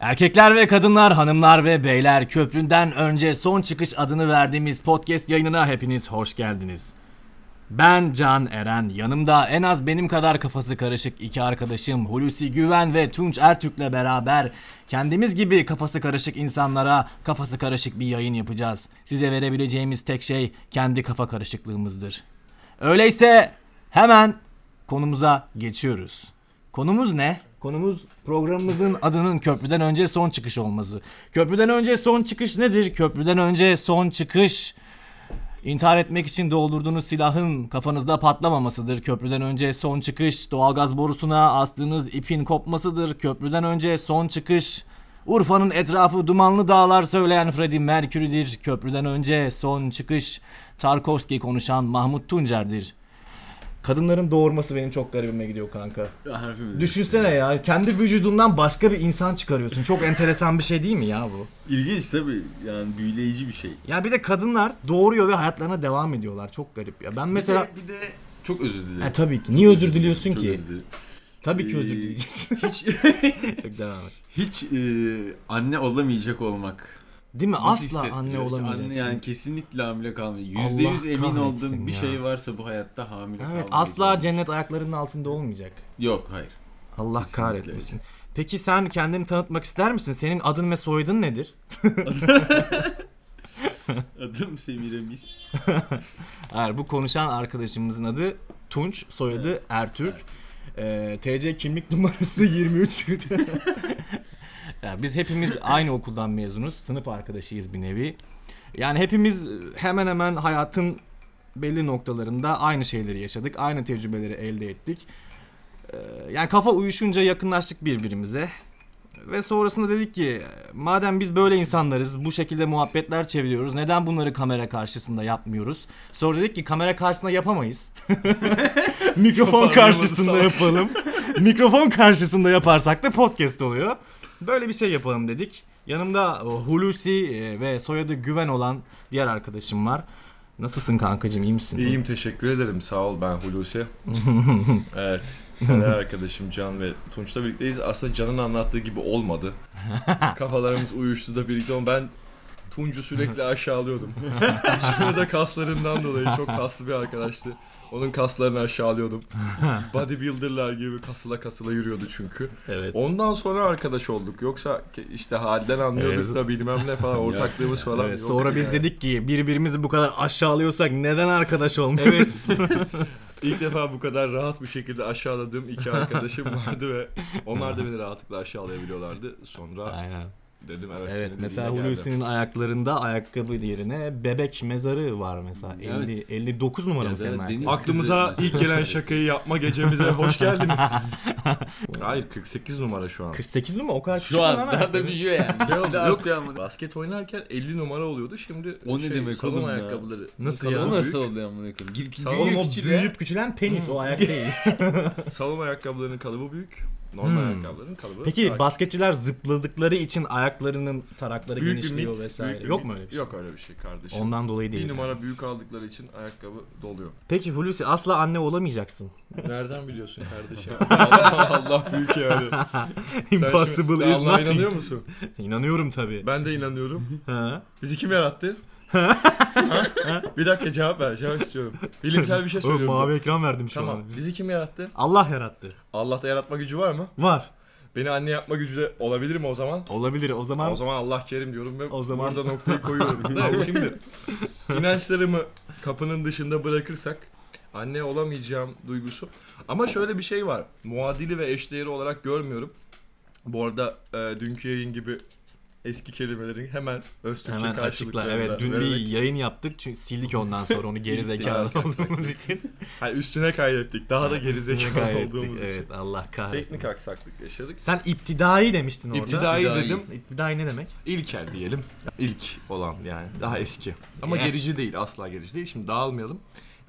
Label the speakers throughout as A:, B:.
A: Erkekler ve kadınlar, hanımlar ve beyler köpründen önce son çıkış adını verdiğimiz podcast yayınına hepiniz hoş geldiniz. Ben Can Eren, yanımda en az benim kadar kafası karışık iki arkadaşım Hulusi Güven ve Tunç Ertürk'le beraber kendimiz gibi kafası karışık insanlara kafası karışık bir yayın yapacağız. Size verebileceğimiz tek şey kendi kafa karışıklığımızdır. Öyleyse hemen konumuza geçiyoruz. Konumuz ne? Konumuz programımızın adının köprüden önce son çıkış olması. Köprüden önce son çıkış nedir? Köprüden önce son çıkış İntihar etmek için doldurduğunuz silahın kafanızda patlamamasıdır. Köprüden önce son çıkış doğalgaz borusuna astığınız ipin kopmasıdır. Köprüden önce son çıkış Urfa'nın etrafı dumanlı dağlar söyleyen Freddie Mercury'dir. Köprüden önce son çıkış Tarkovski konuşan Mahmut Tuncer'dir. Kadınların doğurması benim çok garibime gidiyor kanka.
B: Harfimiz.
A: Düşünsene ya kendi vücudundan başka bir insan çıkarıyorsun. Çok enteresan bir şey değil mi ya bu?
B: İlginç tabii yani büyüleyici bir şey.
A: Ya bir de kadınlar doğuruyor ve hayatlarına devam ediyorlar. Çok garip ya. Ben mesela...
B: bir de, bir de çok özür dilerim.
A: E, tabii ki. Niye özür diliyorsun
B: Çok
A: ki?
B: özür dilerim.
A: Tabii ki özür
B: Ee,
A: dileyeceksin.
B: Hiç
A: Devam et.
B: hiç e, anne olamayacak olmak.
A: Değil mi?
B: Nasıl
A: Asla
B: hissettiriyor?
A: anne
B: Hiç
A: olamayacaksın.
B: Anne yani kesinlikle hamile kalmıyor. Yüzde
A: Allah
B: yüz emin
A: kahretsin
B: olduğum bir
A: ya.
B: şey varsa bu hayatta hamile
A: Evet,
B: kalmak.
A: asla cennet ayaklarının altında olmayacak.
B: Yok hayır.
A: Allah
B: Kesinlikle
A: kahretmesin. Peki sen kendini tanıtmak ister misin? Senin adın ve soyadın nedir?
B: Adım Semiramis.
A: Hayır, bu konuşan arkadaşımızın adı Tunç, soyadı Ertürk. Ee, TC kimlik numarası 23. ya biz hepimiz aynı okuldan mezunuz. Sınıf arkadaşıyız bir nevi. Yani hepimiz hemen hemen hayatın belli noktalarında aynı şeyleri yaşadık. Aynı tecrübeleri elde ettik. Ee, yani kafa uyuşunca yakınlaştık birbirimize. Ve sonrasında dedik ki madem biz böyle insanlarız bu şekilde muhabbetler çeviriyoruz neden bunları kamera karşısında yapmıyoruz? Sonra dedik ki kamera karşısında yapamayız. Mikrofon
B: Toparlayamadı
A: karşısında
B: salak.
A: yapalım. Mikrofon karşısında yaparsak da podcast oluyor. Böyle bir şey yapalım dedik. Yanımda e, Hulusi e, ve soyadı Güven olan diğer arkadaşım var. Nasılsın kankacığım iyi misin?
C: İyiyim teşekkür ederim sağ ol ben Hulusi. evet. Fener arkadaşım Can ve Tunç'la birlikteyiz. Aslında Can'ın anlattığı gibi olmadı. Kafalarımız uyuştu da birlikte ama ben Tunç'u sürekli aşağılıyordum. Şimdi de kaslarından dolayı çok kaslı bir arkadaştı. Onun kaslarını aşağılıyordum. Bodybuilder'lar gibi kasıla kasıla yürüyordu çünkü.
A: Evet.
C: Ondan sonra arkadaş olduk. Yoksa ke- işte halden anlıyorduk
A: Evet.
C: da bilmem ne falan ortaklığımız falan
A: Evet,
C: yok.
A: sonra biz
C: yani.
A: dedik ki birbirimizi bu kadar aşağılıyorsak neden arkadaş olmuyoruz?
C: Evet. İlk defa bu kadar rahat bir şekilde aşağıladığım iki arkadaşım vardı ve onlar da beni rahatlıkla aşağılayabiliyorlardı. Sonra
A: Aynen.
C: dedim evet.
A: Evet
C: senin
A: mesela
C: dediğine geldim.
A: Hulusi'nin ayaklarında ayakkabı yerine bebek mezarı var mesela.
B: Evet.
A: 50 59 numara mı
B: Ya da
A: senin ayakkabı?
B: deniz-
C: Aklımıza
B: Kızı-
C: ilk gelen şakayı yapma gecemize hoş geldiniz. Hayır 48 numara şu an.
A: 48 numara o kadar küçük
B: Şu
A: olan
B: an
A: ayakkabı.
B: daha da büyüyor yani.
C: Şey oldu,
B: Yok ya
C: Basket oynarken 50 numara oluyordu şimdi
B: O ne
C: şey,
B: demek
C: salon
B: oğlum ya?
C: ayakkabıları.
A: Nasıl ya?
C: salon
B: O
C: büyük.
B: nasıl oldu amına koyayım? Gir-
C: Sağ ol,
A: Oğlum
B: Büyüyor
A: o
B: küçülüyor.
A: büyüyüp küçülen penis o ayak değil.
C: Salon ayakkabılarının kalıbı büyük. Normal ayakkabıların kalıbı.
A: Hmm. Peki
C: daha-
A: basketçiler zıpladıkları için ayaklarının tarakları
C: büyük bir
A: genişliyor
C: mit,
A: vesaire.
C: büyük bir
A: Yok
C: mit.
A: mu öyle bir şey?
C: Yok öyle bir şey kardeşim.
A: Ondan dolayı değil.
C: Bir
A: yani.
C: numara büyük aldıkları için ayakkabı doluyor.
A: Peki Hulusi asla anne olamayacaksın.
C: Nereden biliyorsun kardeşim? Allah Allah büyük yani. Sen şimdi-
A: Impossible
C: sen
A: is
C: Allah'a
A: not.
C: inanıyor musun?
A: İnanıyorum tabii.
C: Ben de inanıyorum.
A: Ha?
C: Bizi kim yarattı? Ha? bir dakika cevap ver. Cevap istiyorum. Bilimsel bir şey
A: Oğlum,
C: söylüyorum.
A: mavi ekran verdim şu
C: Tamam.
A: an.
C: Bizi kim yarattı?
A: Allah yarattı.
C: Allah'ta yaratma gücü var mı?
A: Var.
C: Beni anne yapma gücü de olabilir mi o zaman?
A: Olabilir o zaman.
C: O zaman Allah kerim diyorum ve
A: O zaman-
C: burada noktayı koyuyorum. Ne, Şimdi inançlarımı kapının dışında bırakırsak anne olamayacağım duygusu. Ama şöyle bir şey var. Muadili ve eşdeğeri olarak görmüyorum. Bu arada e, dünkü yayın gibi eski kelimelerin hemen öz Türkçe
A: Hemen açıkla.
C: karşılıklarını
A: Evet dün bir
C: vererek-
A: yayın yaptık çünkü sildik ondan sonra onu geri zekalı
C: Gitti.
A: olduğumuz için.
C: Hayır, üstüne kaydettik. Daha da geri
A: Üstüne
C: zekalı
A: kaydettik,
C: olduğumuz için.
A: Evet Allah kahretsin.
C: Teknik aksaklık yaşadık.
A: Sen iptidai demiştin orada.
C: İptidai
B: İptidai.
C: dedim.
A: İptidai ne demek?
C: İlkel diyelim. İlk olan yani. Daha eski. Ama
A: Yes.
C: gerici değil. Asla gerici değil. Şimdi dağılmayalım.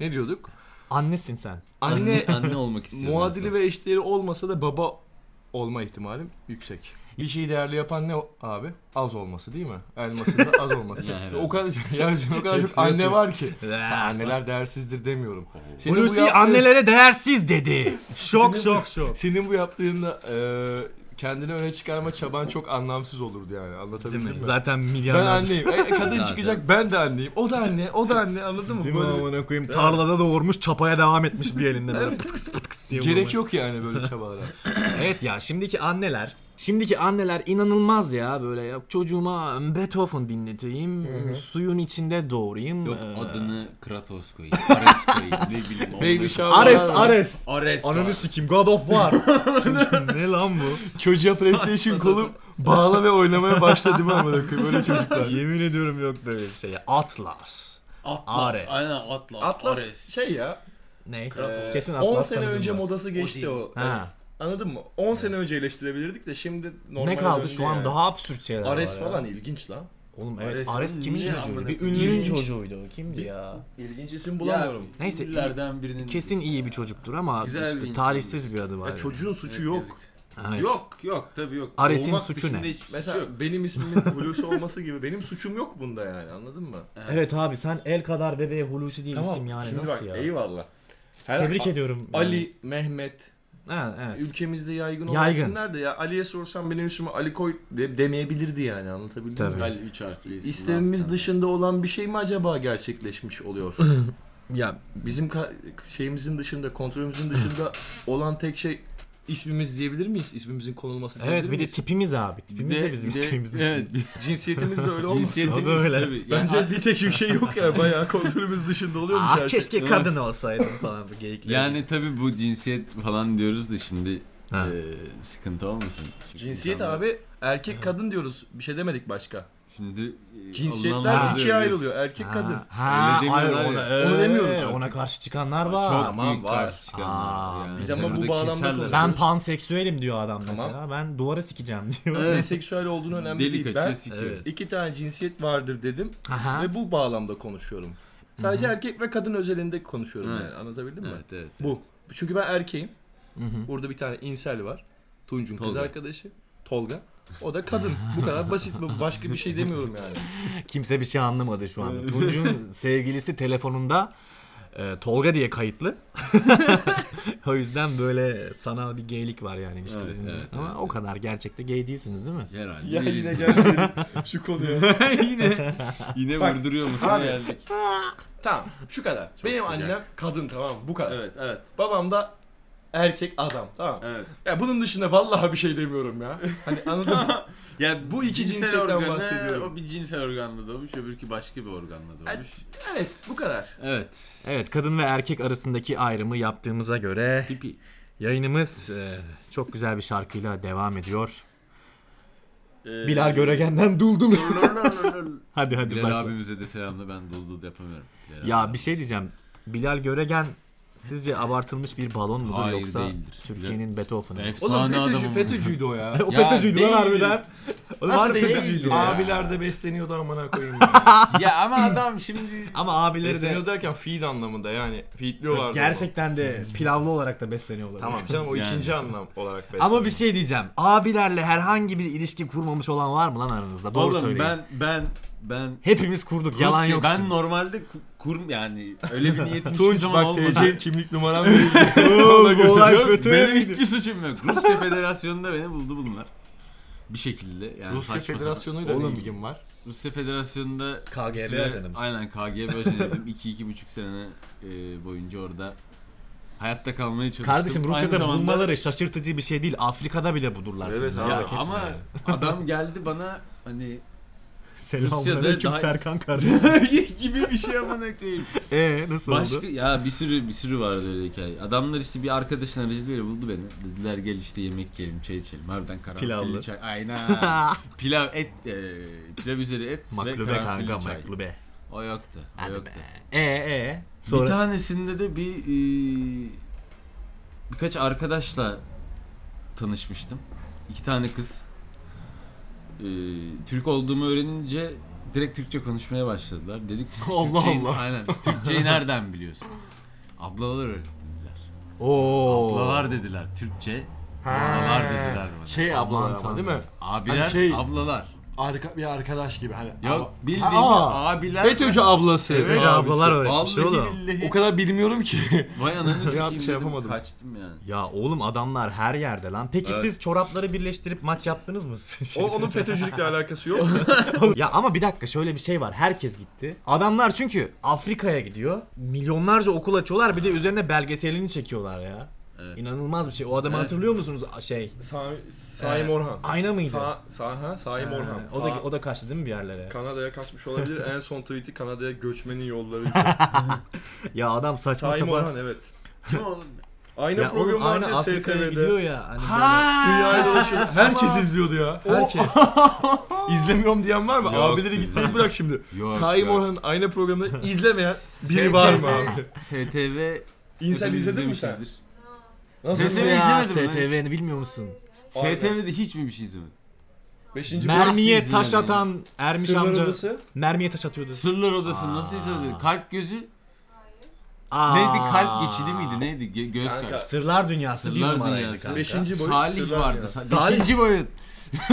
C: Ne diyorduk?
A: Annesin sen.
C: Anne
B: Anne anne olmak istiyorum.
C: muadili ve eşdeğeri olmasa da baba olma ihtimalim yüksek. Bir şeyi değerli yapan ne o- abi? Az olması değil mi? Elmasında az olması.
B: Ya, evet.
C: o kadar yarışın o kadar çok
B: Hepsi
C: anne
B: yatıyor.
C: var ki. Anneler değersizdir demiyorum. Senin bu
A: Hulusi
C: yaptığın-
A: annelere değersiz dedi. şok şok şok.
C: e, Senin bu yaptığında eee
D: kendini öne çıkarma çaban çok anlamsız olurdu yani.
A: Değil
D: Anlatabildim
A: mi?
D: mi?
A: Zaten
D: ben
A: milyarlarca.
D: anneyim. E, Kadın
B: Zaten.
D: çıkacak ben de anneyim. O da anne, o da anne anladın mı?
A: Değil mi
D: Böyle-
A: amına koyayım? Tarlada doğurmuş çapaya devam etmiş bir elinde böyle pıt kıs pıt kıs diye.
D: Gerek
A: vurmaya.
D: yok yani böyle çabalara.
A: Evet ya şimdiki anneler. Şimdiki anneler inanılmaz ya böyle ya, çocuğuma ıı, Beethoven dinleteyim, suyun içinde doğurayım.
B: Yok
A: ee,
B: adını Kratos koyayım. Ares koyayım. Ne bileyim.
D: Baby
B: onları-
D: shower.
A: Ares
D: Abi.
A: Ares.
B: Ares.
A: Ananı sikim God of War. ne lan bu?
D: Çocuğa PlayStation kolu bağla ve oynamaya başla değil mi amına koyayım? Böyle çocuklar.
A: Yemin ediyorum yok böyle bir şey. ya. Atlas.
B: Atlas.
A: Ares.
B: Aynen Atlas.
C: Atlas
B: Ares.
C: şey ya.
A: Ne? Ee,
B: Kratos.
A: Kesin
C: 10
A: Atlas
C: sene
A: tanıdım
C: önce hani
A: ben.
C: modası geçti
B: değil.
C: o. Evet.
A: Ha.
C: Anladın mı? 10 sene önce eleştirebilirdik de şimdi normal
A: Ne kaldı şu an daha absürt şeyler
C: Ares
A: var ya.
C: falan ilginç lan.
A: Oğlum evet Ares,
B: Ares oğlum
A: kimin
B: niye amına
A: çocuğuydu? Bir
B: koyayım?
A: ünlünün
C: İlginç.
A: çocuğuydu o. Kimdi ya?
C: İlginç isim bulamıyorum.
B: Ya,
A: Neyse,
B: ünlülerden birinin.
A: Kesin iyi bir çocuktur ama
B: Güzel bir
A: işte
B: insan.
A: talihsiz bir adı var.
C: Ya,
A: yani.
C: çocuğun suçu
B: Evet,
C: yok.
B: yazık.
A: Evet.
B: Yok yok tabii yok.
A: Ares'in
B: Olmak
A: suçu
B: dışında
A: ne?
B: hiçbir suçu
C: Mesela
B: yok.
C: benim ismimin Hulusi olması gibi benim suçum yok bunda yani anladın mı?
A: Evet abi sen el kadar bebeğe Hulusi değil misin yani
C: Şimdi
A: nasıl
C: bak
A: ya?
C: eyvallah. Her-
A: Tebrik
C: A-
A: ediyorum. yani.
C: Ali, Mehmet,
A: Ha, evet.
C: ülkemizde yaygın olan
A: Yaygın.
C: isimler de ya Ali'ye sorsam benim ismimi Ali koy de- demeyebilirdi yani anlatabildim
A: Tabii.
C: mi?
B: Ali 3 harfli isim.
C: İstemimiz
B: Hakikaten.
C: dışında olan bir şey mi acaba gerçekleşmiş oluyor?
A: Ya
C: Bizim ka- şeyimizin dışında, kontrolümüzün dışında olan tek şey ismimiz diyebilir miyiz? İsmimizin konulması diyebilir
A: evet bir de
C: miyiz?
A: tipimiz abi. Tipimiz de, bizim
B: bir de-
A: isteğimiz dışında.
B: Evet. bir-
C: Cinsiyetimiz de öyle olmasın.
A: O
B: Cinsiyetimiz
A: da öyle.
B: tabii. Yani
C: Bence bir tek bir şey yok ya. Bayağı kontrolümüz dışında oluyormuş
A: Ah
C: her şey.
A: keşke kadın olsaydım falan bu geyikler.
B: Yani e, tabi bu cinsiyet falan diyoruz da şimdi
A: Ha.
B: eee, sıkıntı olmasın. Çünkü
C: Cinsiyet
B: insanlar-
C: abi erkek kadın diyoruz. Bir şey demedik başka.
B: Şimdi eee,
C: Cinsiyetler
B: alınanlar
C: ikiye
B: diyoruz.
C: ayrılıyor. Erkek kadın.
A: Ha,
B: Öyle
A: hayır,
B: demiyorlar
A: ona,
B: ya.
A: ee,
C: Onu demiyoruz.
A: Ona karşı çıkanlar
B: Çok
A: var.
C: Tamam,
B: büyük
C: var.
B: karşı çıkanlar. var
A: Aa,
B: yani.
A: biz
B: Bize
A: ama bu
B: burada
C: bağlamda
B: keserler.
C: konuşuyoruz.
A: ben panseksüelim diyor adam
C: Tamam.
A: mesela. Ben duvara sikeceğim diyor.
C: Ne seksüel olduğunu önemli
B: Delik
C: değil.
B: açıyor
C: Ben
B: sikiyor.
A: Evet.
C: iki tane cinsiyet vardır dedim
A: Aha.
C: ve bu bağlamda konuşuyorum. Sadece erkek ve kadın özelinde konuşuyorum
B: Evet.
C: yani. Anlatabildim mi?
B: Evet evet.
C: Bu. Çünkü ben erkeğim.
A: Hı hı.
C: Burada bir tane insel var. Tunç'un kız
B: Tolga.
C: arkadaşı. Tolga. O da kadın. Bu kadar basit mi? Başka bir şey demiyorum yani.
A: Kimse bir şey anlamadı şu anda. Tunç'un sevgilisi telefonunda e, Tolga diye kayıtlı. o yüzden böyle sanal bir geylik var yani ilişkide.
B: Evet, evet,
A: Ama o kadar gerçekte gey değilsiniz değil mi?
B: Herhalde.
C: ya
B: değiliz
C: yine
B: yani.
C: geldi şu konuya.
B: yine yine vurduruyor musun
C: abi.
B: geldik.
C: tamam şu kadar. Benim
B: sıcak.
C: annem kadın tamam mı? bu kadar.
B: Evet evet.
C: Babam da erkek adam tamam. mı?
B: Evet.
C: Ya bunun dışında vallahi bir şey demiyorum ya. Hani anladın mı?
B: Ya bu iki
C: Cinsel
B: cinsel,
C: organı,
B: organı
C: bahsediyorum.
B: o bir cinsel organla doğmuş, öbürkü başka bir organla doğmuş.
C: Evet bu kadar.
B: Evet.
A: Evet kadın ve erkek arasındaki ayrımı yaptığımıza göre
B: Pipi.
A: yayınımız e, çok güzel bir şarkıyla devam ediyor.
B: Ee,
A: Bilal Göregen'den duldum. hadi hadi
B: Bilal
A: başla.
B: abimize de selamla ben dul dul yapamıyorum. Bilal
A: Ya
B: abi.
A: bir şey diyeceğim. Bilal Göregen sizce abartılmış bir balon mudur
B: Hayır,
A: yoksa
B: değildir.
A: Türkiye'nin Beethoven'ı mı?
B: Efsane
D: Oğlum FETÖ'cü,
B: adamım.
D: FETÖ'cüydü o ya.
A: O
B: Ya
A: FETÖ'cüydü lan
B: değildir.
A: harbiden. Oğlum harbi
C: değildir
E: şey
A: FETÖ'cüydü
C: ya.
A: ya.
D: Abiler de besleniyordu amına koyayım.
B: ya ama adam şimdi
A: Ama abileri de
D: Besleniyor derken feed anlamında yani. Feedliyorlardı.
A: gerçekten de pilavlı olarak da besleniyorlar.
D: Tamam canım o
B: Yani.
D: ikinci anlam olarak besleniyor.
A: Ama bir şey diyeceğim. Abilerle herhangi bir ilişki kurmamış olan var mı lan aranızda? Doğru
B: oğlum
A: söyleyin.
B: ben ben ben
A: Hepimiz kurduk. Yalan
B: Rusya-
A: yok
B: Ben
A: şimdi.
B: normalde ku- kurum yani öyle bir niyetim hiçbir
D: Tunç
B: zaman
D: bak
B: olmadı.
D: TC kimlik numaram değil.
A: Oğlum, bu olay
B: Yok,
A: FETÖ'ye
B: benim
A: miydi?
B: hiçbir suçum yok. Rusya Federasyonu'nda beni buldu bunlar. Bir şekilde yani
D: Rusya
B: saçma
D: Federasyonu'yla ne ilgim var?
B: sapan. Rusya Federasyonu'nda
A: KGB
B: süre-
A: ajanı mısın?
B: Aynen KGB ajanıydım. 2 iki, buçuk sene e, boyunca orada hayatta kalmaya çalıştım.
A: Kardeşim
B: Aynı
A: Rusya'da
B: zamanda-
A: bulmaları şaşırtıcı bir şey değil. Afrika'da bile budurlar
C: Evet
A: seni.
C: abi.
B: ya
C: Merak etme
B: ama
A: yani.
B: adam geldi bana hani
A: Selamünaleyküm
B: daha-
A: Serkan kardeşim.
B: gibi bir şey amına koyayım.
A: Eee Ee, nasıl
B: Başka
A: oldu?
B: ya bir sürü bir sürü vardı öyle hikaye. Adamlar işte bir arkadaşın aracılığıyla buldu beni. Dediler gel işte yemek yiyelim, çay içelim. Harbiden karanfilli
A: Pilavlı.
B: çay. Aynen. pilav et, e, pilav üzeri et ve
A: Maklube
B: karanfilli
A: kanka
B: çay.
A: maklube.
B: O yoktu. O
A: Hadi
B: yoktu.
A: be. Eee eee. Sonra...
B: Bir tanesinde de bir e, birkaç arkadaşla tanışmıştım. İki tane kız. E, Türk olduğumu öğrenince direkt Türkçe konuşmaya başladılar. Dedik
A: Allah
B: Türkçeyi-
A: Allah.
B: Aynen. Türkçeyi nereden biliyorsunuz? Ablalar öğrettiler.
A: Oo.
B: Ablalar dediler Türkçe. Ablalar dediler bana.
D: Şey
A: Aman
D: ablalar ama
A: tanrım.
D: değil mi?
B: Abiler,
D: Hani şey-
B: ablalar.
E: arka, bir arkadaş gibi hani.
B: Ya
E: ama-
B: bildiğin
E: Aa!
B: abiler.
C: FETÖ'cü ablası.
A: FETÖ'cü ablalar öğretmiş
B: Vallahi
A: oğlum.
B: billahi.
E: O kadar bilmiyorum ki.
B: Vay ananı sikeyim
C: şey
B: dedim,
C: yapamadım.
B: Kaçtım yani.
A: Ya oğlum adamlar her yerde lan. Peki
F: Evet.
A: siz çorapları birleştirip maç yaptınız mı? Şey-
F: O, onun FETÖ'cülükle alakası yok.
A: ya ama bir dakika şöyle bir şey var. Herkes gitti. Adamlar çünkü Afrika'ya gidiyor. Milyonlarca okul açıyorlar bir de üzerine belgeselini çekiyorlar ya.
B: Evet.
A: İnanılmaz bir şey. O adamı
B: Evet.
A: hatırlıyor musunuz? Şey,
F: Sami, Saim
C: Ee,
F: Orhan.
A: ayna mıydı?
F: Sa, sa, ha, Saim
A: Ha,
F: Orhan.
A: o da
F: Sa-
A: o da kaçtı değil mi bir yerlere?
F: Kanada'ya kaçmış olabilir. en son tweet'i Kanada'ya göçmenin yolları.
A: Ya adam saçma
F: Saim
A: sapan.
F: Orhan evet.
B: Kim oğlum?
F: Aynı
A: Ya
F: program
A: oğlum
F: vardı
A: aynı
F: ya
A: Afrika'ya
F: STV'de.
A: gidiyor ya. Hani
C: Dünyayı dolaşıyor. Herkes izliyordu ya. Herkes. İzlemiyorum diyen var mı?
B: Yok.
C: Abileri gitmeyi bırak şimdi.
B: Yok,
C: Saim
B: yok.
C: Orhan'ın aynı programda izlemeyen biri var mı abi?
B: STV.
C: İnsel
B: hepimiz
C: izledin mi sen?
B: izlemişizdir.
A: böyle- Nasıl
B: STV
A: ya
B: izlemedin mi?
A: STV'ni bilmiyor musun?
F: Aynen.
B: STV'de hiç mi bir şey izlemedin?
F: Beşinci
A: Mermiye
B: nasıl
A: taş
B: izlemedin?
A: atan Ermiş
F: Sırlar
A: amca.
F: Adası.
A: Mermiye taş atıyordu.
B: Sırlar Odası'nı nasıl izledin? Kalp gözü
A: Aa.
B: neydi? Kalp geçidi miydi? Neydi? Ge- göz
F: Kanka,
B: kalp.
A: Sırlar dünyası
B: Sırlar
A: bir numaraydı
B: Dünyası.
A: kanka.
F: Beşinci boyut.
B: Salih
F: sırlar
B: vardı.
F: ya.
B: Sa-
A: Salih-
B: Beşinci boyut.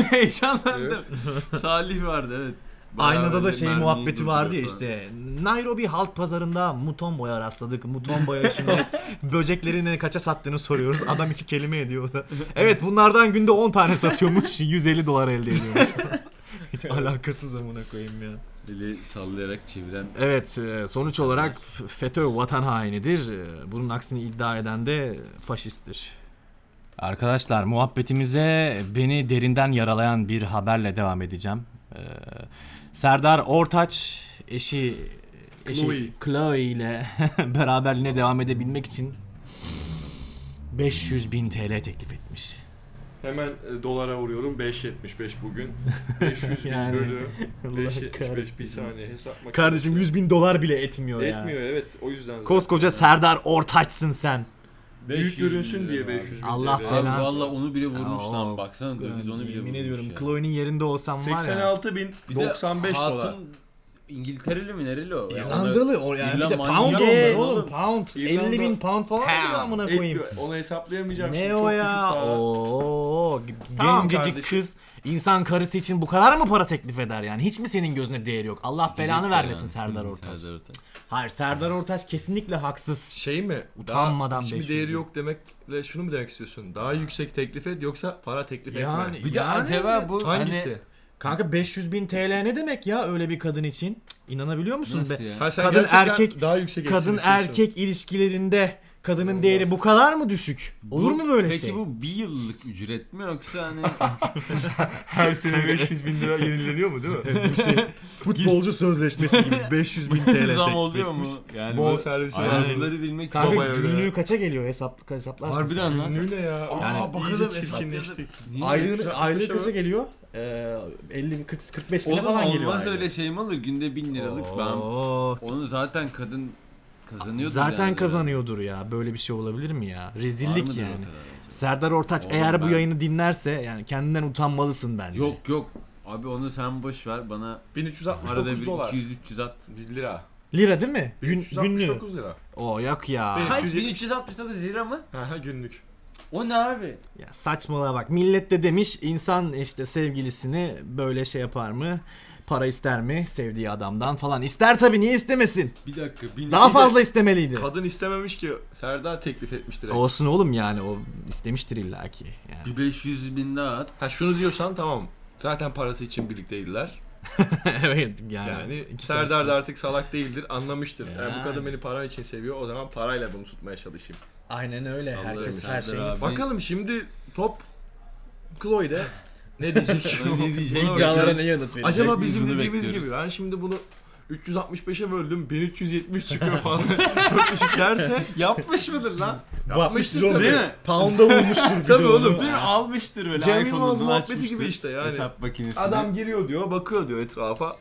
B: Heyecanlandım.
F: Evet.
B: Salih vardı evet. Bayağı
A: Aynada da
B: böyle
A: şey
B: mermiyi
A: muhabbeti vardı ya
B: durduruyor
A: işte. Nairobi halk pazarında Mutombo'ya rastladık. Mutombo'ya şimdi böceklerini kaça sattığını soruyoruz. Adam iki kelime ediyor o da. Evet bunlardan günde 10 tane satıyormuş. 150 dolar elde ediyormuş. Hiç alakasız amına koyayım ya.
B: falan. Eli sallayarak çeviren
A: Evet e, sonuç olarak F- FETÖ vatan hainidir. E, Bunun aksini iddia eden de faşisttir. Arkadaşlar muhabbetimize beni derinden yaralayan bir haberle devam edeceğim. E, Serdar Ortaç eşi eşi
F: Chloe.
A: Chloe ile beraberliğine devam edebilmek için 500 bin TL teklif etmiş.
F: Hemen e, dolara vuruyorum. 5.75 bugün. 500 bin
A: Yani,
F: bölü.
A: Allah
F: 5.75 bir
A: kahretsin.
F: saniye hesap makinesi.
A: Kardeşim 100 bin dolar bile etmiyor, ya.
F: Etmiyor evet o yüzden. zaten.
A: Koskoca Serdar Ortaç'sın sen.
F: 500
B: 500
F: Büyük görünsün
B: bin
F: diye
B: lira abi.
F: 500 bin
A: Allah
F: lira.
B: Abi
A: Fena.
B: valla onu bile vurmuş
A: Ya,
B: lan
A: o-
B: baksana döviz onu bile
A: Yemin
B: vurmuş
A: ediyorum
B: ya.
A: Chloe'nin yerinde olsam var ya.
F: 86 bin
B: Bir de
F: 95
B: hatun,
F: dolar.
B: İngiltereli mi nereli o? Ya ona-
A: İrlandalı o yani bir de
B: İrlanda-
A: pound
B: İrlanda
A: olmuş
B: oğlum.
A: oğlum pound.
F: İrlanda-
A: 50 bin pound falan
F: Pound.
A: mı amına
F: Et-
A: koyayım?
F: Onu hesaplayamayacağım şimdi.
A: Ne
F: Çok
A: o
F: düşük
A: ya?
F: para.
A: Oo, g-
F: Tamam
A: gencecik
F: kardeşim.
A: kız insan karısı için bu kadar mı para teklif eder yani? Hiç mi senin gözüne değeri yok? Allah belanı vermesin Serdar Ortaç.
B: Serdar Ortaç.
A: Hayır Serdar Ortaç kesinlikle haksız.
C: Şey mi?
A: Utanmadan
C: Daha hiçbir
A: 500
C: değeri
A: bin.
C: yok demekle şunu mu demek istiyorsun? Daha yüksek teklif et yoksa para teklif etme.
A: Yani,
B: Bir de
A: yani-
B: acaba bu
C: Hangisi?
B: hani
A: Kanka 500 bin TL ne demek ya öyle bir kadın için? İnanabiliyor musun?
B: nasıl
A: be?
B: ya?
C: Ha, sen
A: Kadın
C: gerçekten
A: erkek-
C: daha yüksek etsin
A: Kadın
C: istiyorsun.
A: erkek ilişkilerinde kadının değeri bu kadar mı düşük? Olur
B: Bu-
A: mu böyle
B: peki
A: şey?
B: Peki bu bir yıllık ücret mi yoksa hani
C: her sene 500 bin lira yenileniyor mu değil mi?
A: futbolcu sözleşmesi gibi 500 bin TL
B: zam oluyor mu? Yani
C: Bol
B: bu-
C: servisi
B: Aynen,
C: var.
B: bunları bilmek
A: Kanka
C: Babaya göre.
A: günlüğü kaça geliyor hesap hesaplarsın.
B: Harbiden lan.
C: Ünlü ne ya?
B: Aa, bakalım
C: iyice
B: hesaplayalım.
C: çirkinleştik.
B: Niye?
A: Aylığı,
C: 365
A: aylığı
C: ama.
A: kaça geliyor? Ee, 50 40 45 bine
B: Oğlum
A: falan
B: olmaz
A: geliyor. aylığı.
B: öyle şey mi olur? Günde 1000 liralık ben.
A: Oo.
B: Onu zaten kadın kazanıyordu.
A: Zaten
B: yani.
A: kazanıyordur ya. Böyle bir şey olabilir mi ya?
B: Var
A: Rezillik
B: mıdır o
A: yani.
B: kadar acaba?
A: Serdar Ortaç
B: Oğlum
A: eğer bu
B: ben-
A: yayını dinlerse yani kendinden utanmalısın bence.
B: Yok yok. Abi onu sen boş ver bana arada
F: 1369
B: bir
F: dolar.
B: 200 300 at.
F: 1 lira.
A: Lira değil mi? Gün, günlüğü.
F: 1369 lira.
A: Oo yok ya.
C: Benim-
B: Kaç
C: 300
B: 1369 lira mı?
C: Ha ha, günlük.
B: O ne abi?
A: Ya saçmalığa bak. Millet de demiş insan işte sevgilisini böyle şey yapar mı? Para ister mi sevdiği adamdan falan. İster tabii niye istemesin?
B: Bir dakika. Bin...
A: Daha fazla istemeliydi.
C: Kadın istememiş ki Serdar teklif etmiş direkt.
A: Olsun oğlum yani o istemiştir illaki. Yani.
B: Bir 500 bin daha at.
C: Ha şunu diyorsan tamam. Zaten parası için birlikteydiler.
A: evet yani.
C: Yani
A: İki
C: Serdar da
A: sene-
C: artık salak değildir, anlamıştır. Yani.
A: Yani.
C: bu kadın beni para için seviyor, o zaman parayla bunu tutmaya çalışayım.
A: Aynen öyle.
B: Allah
A: Herkes
B: Serdar
A: her şeyi.
B: abi.
C: Bakalım şimdi top Chloe'de ne diyecek?
B: Ne diyecek?
C: Buna
B: İddialara
C: bakacağız.
A: ne yanıt verecek?
C: Acaba
B: Biz
C: bizim
B: bunu
C: dediğimiz
B: bekliyoruz.
C: gibi ben şimdi bunu 365'e böldüm 1370 çıkıyor falan. Çok düşük yerse
B: Yapmış mıdır lan?
A: Bakmıştır
B: tabii. Değil mi?
A: Pound'a vurmuştur. bir
C: Tabii
A: de
C: oğlum,
A: onu.
B: Bir almıştır böyle
C: Cem
B: iPhone'unu
C: Yılmaz muhabbeti
B: açmıştır.
C: gibi işte yani.
B: Hesap makinesini.
C: adam giriyor diyor bakıyor diyor etrafa.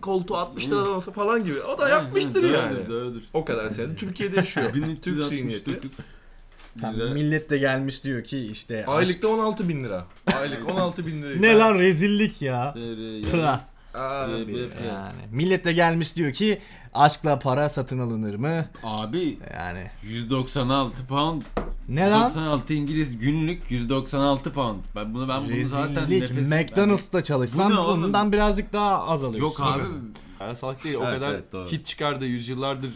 C: Koltuğu 60 liradan olsa falan gibi. O da
B: Aynen,
C: yapmıştır
B: doğrudur,
C: yani.
B: Doğrudur.
C: O kadar senede Türkiye'de yaşıyor. Türk zihniyeti.
B: 1369.
A: Tamam, millet de gelmiş diyor ki işte. aşk-
C: Aylıkta 16 bin lira. Aylık 16 bin lira.
A: Ne lan rezillik ya.
B: Lira.
A: Pıra.
B: Ee, bir- bir-
A: Yani millet de gelmiş diyor ki aşkla para satın alınır mı?
B: Abi
A: Yani
B: 196 pound.
A: ne lan?
B: 196 İngiliz günlük 196 pound. Ben bunu ben bunu zaten
A: Rezillik.
B: nefesim.
A: McDonald's'ta çalışsan
B: Bu ne oğlum?
A: bundan birazcık daha az alıyorsun.
B: Yok abi.
C: Yani salak değil o
B: Evet,
C: kadar
B: evet, doğru.
C: hit çıkardı yüzyıllardır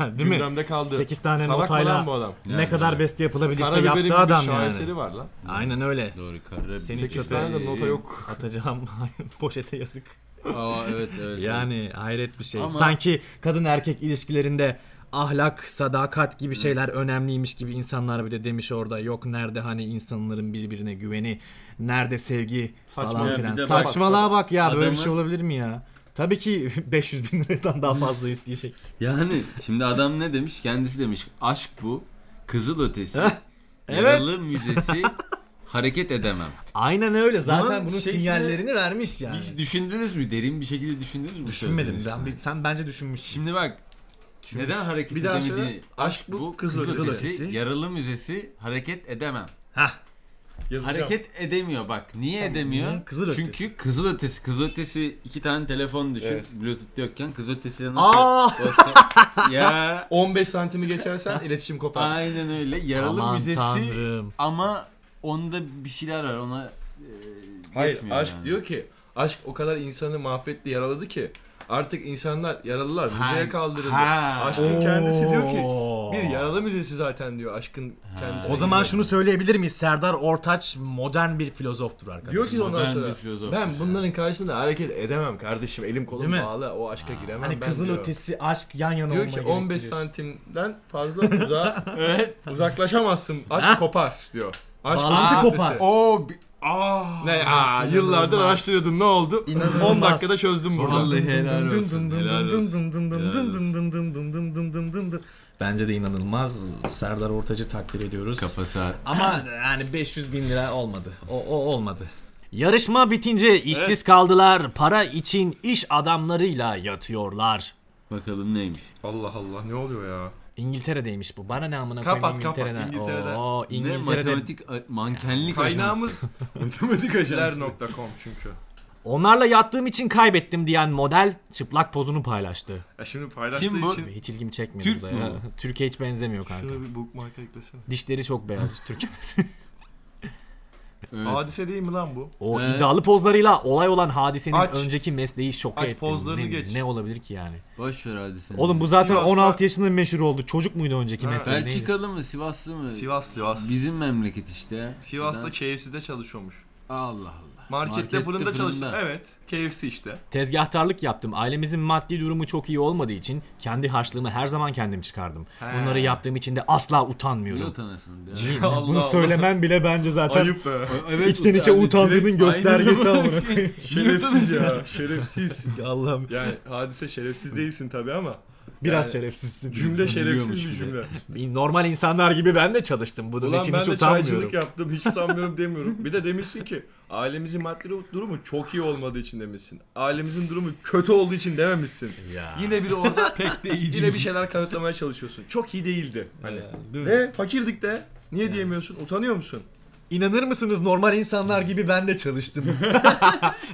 A: Değil mi?
C: gündemde kaldı.
A: 8 tane
C: Salak mı
A: notayla
C: lan bu adam?
A: ne
B: Yani,
A: kadar
B: evet.
A: beste yapılabilirse
C: Karabiberin gibi
A: yaptı
C: bir
A: adam
C: şaheseri
A: yani.
C: var lan.
A: Aynen öyle.
B: Doğru karar.
A: Seni
C: Sekiz
A: köpeği-
C: tane e, de nota yok.
A: Atacağım poşete yazık.
B: Aa evet evet.
A: Yani hayret bir şey.
B: Ama-
A: Sanki kadın erkek ilişkilerinde ahlak, sadakat gibi şeyler önemliymiş gibi insanlar bile demiş orada. Yok nerede hani insanların birbirine güveni, nerede sevgi
C: Saçma
A: falan
B: ya,
A: filan.
B: bir de bak-
A: Saçmalığa bak ya böyle bir
B: Adamı-
A: şey olabilir mi ya? Tabii ki 500 bin liradan daha fazla isteyecek.
B: Yani şimdi adam ne demiş? Kendisi demiş aşk bu. Kızıl ötesi.
A: Heh, evet.
B: Yaralı müzesi. hareket edemem.
A: Aynen öyle. Zaten
B: Bunun
A: bunun
B: şeysine-
A: sinyallerini vermiş yani.
B: Hiç düşündünüz mü? Derin bir şekilde düşündünüz mü? bu
A: Düşünmedim.
B: sözleri?
A: Ben, sen bence düşünmüşsün.
B: Şimdi bak. Neden hareket
C: Bir daha
B: edemediğini?
C: söyle.
B: Aşk bu, kızıl, ötesi,
A: ötesi.
B: yaralı müzesi, hareket edemem.
C: Yazacağım.
B: Hareket edemiyor bak. Niye edemiyor?
A: niye? Kızıl
B: Çünkü
A: ötesi.
B: kızıl ötesi, kızıl ötesi iki tane telefon düşün. Bluetooth yokken kızıl ötesiyle nasıl?
A: Aa!
B: basıyor? ya
C: 15 santimi geçersen iletişim kopar.
B: aynen öyle. Yaralı
A: Aman
B: müzesi
A: tanrım.
B: ama onda bir şeyler var. Ona e,
C: Hayır
B: yetmiyor
C: aşk
B: yani.
C: diyor ki aşk o kadar insanı mahvetti yaraladı ki artık insanlar yaralılar
B: Ha,
C: müzeye kaldırıldı.
B: ha.
C: Aşkın kendisi diyor ki
A: Oo.
C: bir yaralı müzesi zaten diyor aşkın kendisi.
A: O zaman şunu söyleyebilir miyiz? Serdar Ortaç modern bir filozoftur arkadaşlar.
C: diyor ki ondan
B: Modern
C: sonra
B: bir filozof.
C: ben bunların karşısında hareket edemem kardeşim elim kolum
A: Değil mi?
C: bağlı o aşka giremem
A: Hani
C: ben
A: kızıl
C: diyor.
A: ötesi aşk yan yana
C: Diyor
A: olmayı
C: ki 15
A: gerektiriyor.
C: santimden fazla uzağa uzaklaşamazsın. Aşk kopar diyor. Aşk
A: Bağlantı
C: ötesi.
A: kopar.
B: Oo, bi-
C: Ne aa yıllardır araştırıyordun ne oldu? 10 dakikada çözdüm burada.
B: Vallahi helal olsun. Helal olsun.
A: Bence de inanılmaz. Serdar Ortaç'ı takdir ediyoruz.
B: Kafası
A: Ama yani 500 bin lira olmadı. O, o olmadı. Yarışma bitince işsiz kaldılar. Para için iş adamlarıyla yatıyorlar.
B: bakalım neymiş.
C: Allah Allah ne oluyor ya?
A: İngiltere'deymiş bu. Bana ne amına
C: Kapat,
A: koyayım
C: kapat,
A: İngiltere'den.
C: İngiltere'den.
A: Oo,
B: Ne
A: İngiltere'de.
B: matematik a- mankenlik ajansı.
C: Kaynağımız
B: matematik
C: ler.com çünkü.
A: Onlarla yattığım için kaybettim diyen model çıplak pozunu paylaştı.
C: Ya şimdi paylaştığı
B: Kim bu?
C: için
A: Hiç ilgimi çekmedi
B: Türk
A: bu da
B: mü
A: ya. Türkiye hiç benzemiyor kanka.
C: şunu bir bookmark'a eklesene.
A: Dişleri çok beyaz Türk.
B: Evet.
C: Hadise değil mi lan bu?
A: O
B: Ee?
A: iddialı pozlarıyla olay olan hadisenin
C: Aç.
A: önceki mesleği şoka
C: Aç
A: etti.
C: pozlarını
A: ne,
C: geç.
A: ne olabilir ki yani?
B: Boş ver hadi sen.
A: Oğlum bu zaten
C: Sivas'ta-
A: 16 yaşında meşhur oldu. Çocuk muydu önceki
C: Ha.
A: mesleği? neydi?
B: Belçikalı mı Sivaslı mı?
C: Sivas Sivas.
B: Bizim memleket işte.
C: Sivas'ta
B: Ben-
C: KFC'de çalışıyormuş.
B: Allah Allah.
C: Markette,
B: Markette
C: fırında çalıştı.
B: fırında.
C: Evet. KFC işte.
A: Tezgahtarlık yaptım. Ailemizin maddi durumu çok iyi olmadığı için kendi harçlığımı her zaman kendim çıkardım. Bunları yaptığım için de asla
B: Niye
A: utanmıyorum.
B: utanasın? Biraz.
A: Değil mi?
C: Allah
A: Bunu
C: Allah.
A: söylemen bile bence zaten
C: Ayıp be.
B: Evet,
A: içten içe
B: utandı.
A: utandığının
B: Direkt-
A: göstergesi
B: Aynen.
A: amına koyayım.
C: şerefsiz ya. Şerefsiz.
A: Allah'ım
C: Yani hadise şerefsiz değilsin tabi ama
A: biraz
C: Yani
A: şerefsizsin.
C: cümle şerefsiz bir
B: Biliyormuş bir
C: cümle.
A: Normal insanlar gibi ben de çalıştım. Bunun
C: Ulan
A: için
C: ben
A: hiç
C: de
A: utanmıyorum.
C: çaycılık yaptım hiç utanmıyorum demiyorum. Bir de demişsin ki ailemizin maddi durumu çok iyi olmadığı için demişsin. Ailemizin durumu kötü olduğu için dememişsin.
A: Ya.
C: Yine bir orada pek de iyi Yine bir şeyler kanıtlamaya çalışıyorsun. Çok iyi değildi. Hani.
A: Değil mi?
C: Ne? Fakirdik de. Niye diyemiyorsun? Utanıyor musun?
A: İnanır mısınız normal insanlar gibi ben de çalıştım.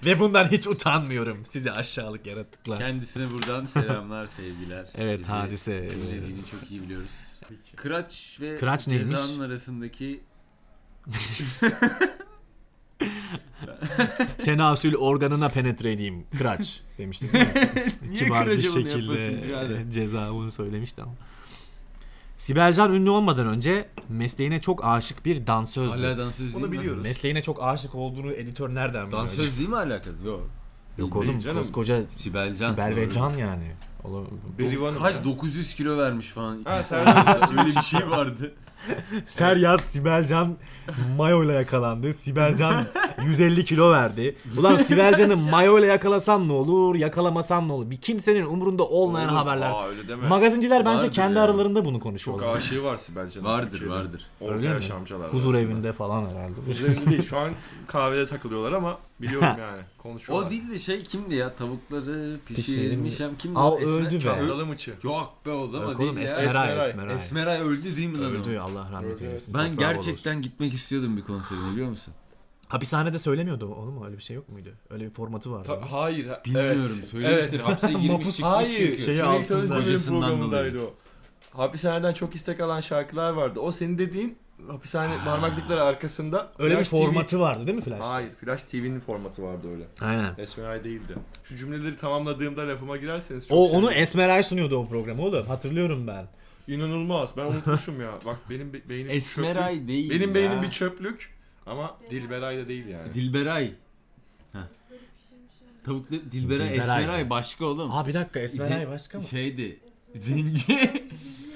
A: Ve bundan hiç utanmıyorum. Sizi aşağılık yaratıklar.
B: Kendisine buradan selamlar sevgiler.
A: Evet,
B: Bizi
A: hadise.
B: dinlediğini çok iyi biliyoruz. Kıraç ve
A: Kıraç neymiş?
B: cezanın arasındaki
A: Tenasül organına penetre edeyim. Kıraç demiştim. değil mi?
B: Niye
A: Kibar bir
B: kıraca bunu
A: şekilde
B: yapıyorsun birader?
A: e, ceza bunu söylemişti ama. Sibelcan ünlü olmadan önce mesleğine çok aşık bir dansözdü.
B: Hala dansöz
C: Bunu
B: değil mi?
C: biliyoruz.
A: Mesleğine çok aşık olduğunu editör nereden biliyor?
B: Dansöz değil mi alakalı? Yok.
A: Yok oğlum
C: canım.
A: koskoca
B: Sibel Can.
A: Sibel ve
B: doğru.
A: Can yani. Oğlum,
C: Berivan
B: Kaç 900 kilo vermiş falan.
C: Ha, Serdar
B: Öyle bir şey vardı.
A: Seryaz Sibelcan mayoyla yakalandı. Sibelcan 150 kilo verdi. Ulan Sibelcan'ı mayoyla yakalasan ne olur, yakalamasan ne olur? Bir kimsenin umurunda olmayan
C: Oğlum,
A: haberler.
C: Aa öyle deme.
A: Magazinciler bence
B: Vardır
A: kendi
B: ya.
A: aralarında bunu konuşuyorlar.
C: Çok aşığı varsa bence.
B: Vardır vardır.
C: Orta
A: Öyle mi?
C: yaş amcalar.
A: Huzur
C: arasında.
A: evinde falan herhalde.
C: Huzur evinde değil. Şu an kahvede takılıyorlar ama biliyorum yani. Konuşuyorlar.
B: O değil de şey kimdi ya? Tavukları
A: Pişirmiş.
B: pişirmiş hem kimdi?
A: Al,
B: o? Esmer-
A: öldü be.
B: Çağla-
C: Dalı mıçı.
B: Yok be oğlum
A: Yok
B: o
A: oğlum
B: değil ya.
A: Esmeray,
C: Esmeray.
A: Esmeray.
B: Esmeray öldü değil mi lan o?
A: Öldü Allah rahmet
C: Öldü.
A: eylesin.
B: Ben
A: Toprağı bol olsun.
B: gerçekten gitmek istiyordum bir konserine biliyor musun?
A: Hapishanede söylemiyordu o, oğlum öyle bir şey yok muydu? Öyle bir formatı vardı.
F: Ta- hayır. ha-
B: Bilmiyorum
F: evet.
B: söylemiştir.
F: Evet.
B: Hapse girmiş
A: Mapus-
B: çıkmış
F: Hayır.
B: çünkü.
A: Şey-
F: Cüneyt
A: altında.
F: Özdemir'in
B: Hocasından
F: programındaydı o. Hapishaneden çok istek alan şarkılar vardı. O senin dediğin
B: Ah.
F: hapishane parmaklıkları arkasında.
A: öyle bir
F: Flash TV
A: formatı vardı değil mi Flash?
F: Hayır, Flash TV'nin formatı vardı öyle.
A: Aynen.
F: Esmeray değildi. Şu cümleleri tamamladığımda lafıma girerseniz çok
A: O onu
F: sevinirim.
A: Esmeray sunuyordu o programı oğlum. Hatırlıyorum ben.
F: İnanılmaz. Ben unutmuşum ya. Bak benim be- beynim çöplük.
B: e- Esmeray değil
F: Benim
B: ya.
F: beynim bir çöplük ama Dilberay da değil yani.
B: Dilberay. Heh. Tavuklu Dilberay, Esmeray başka oğlum.
A: Aa bir dakika Esmeray
B: Zin-
A: başka mı?
B: Şeydi. Zenci.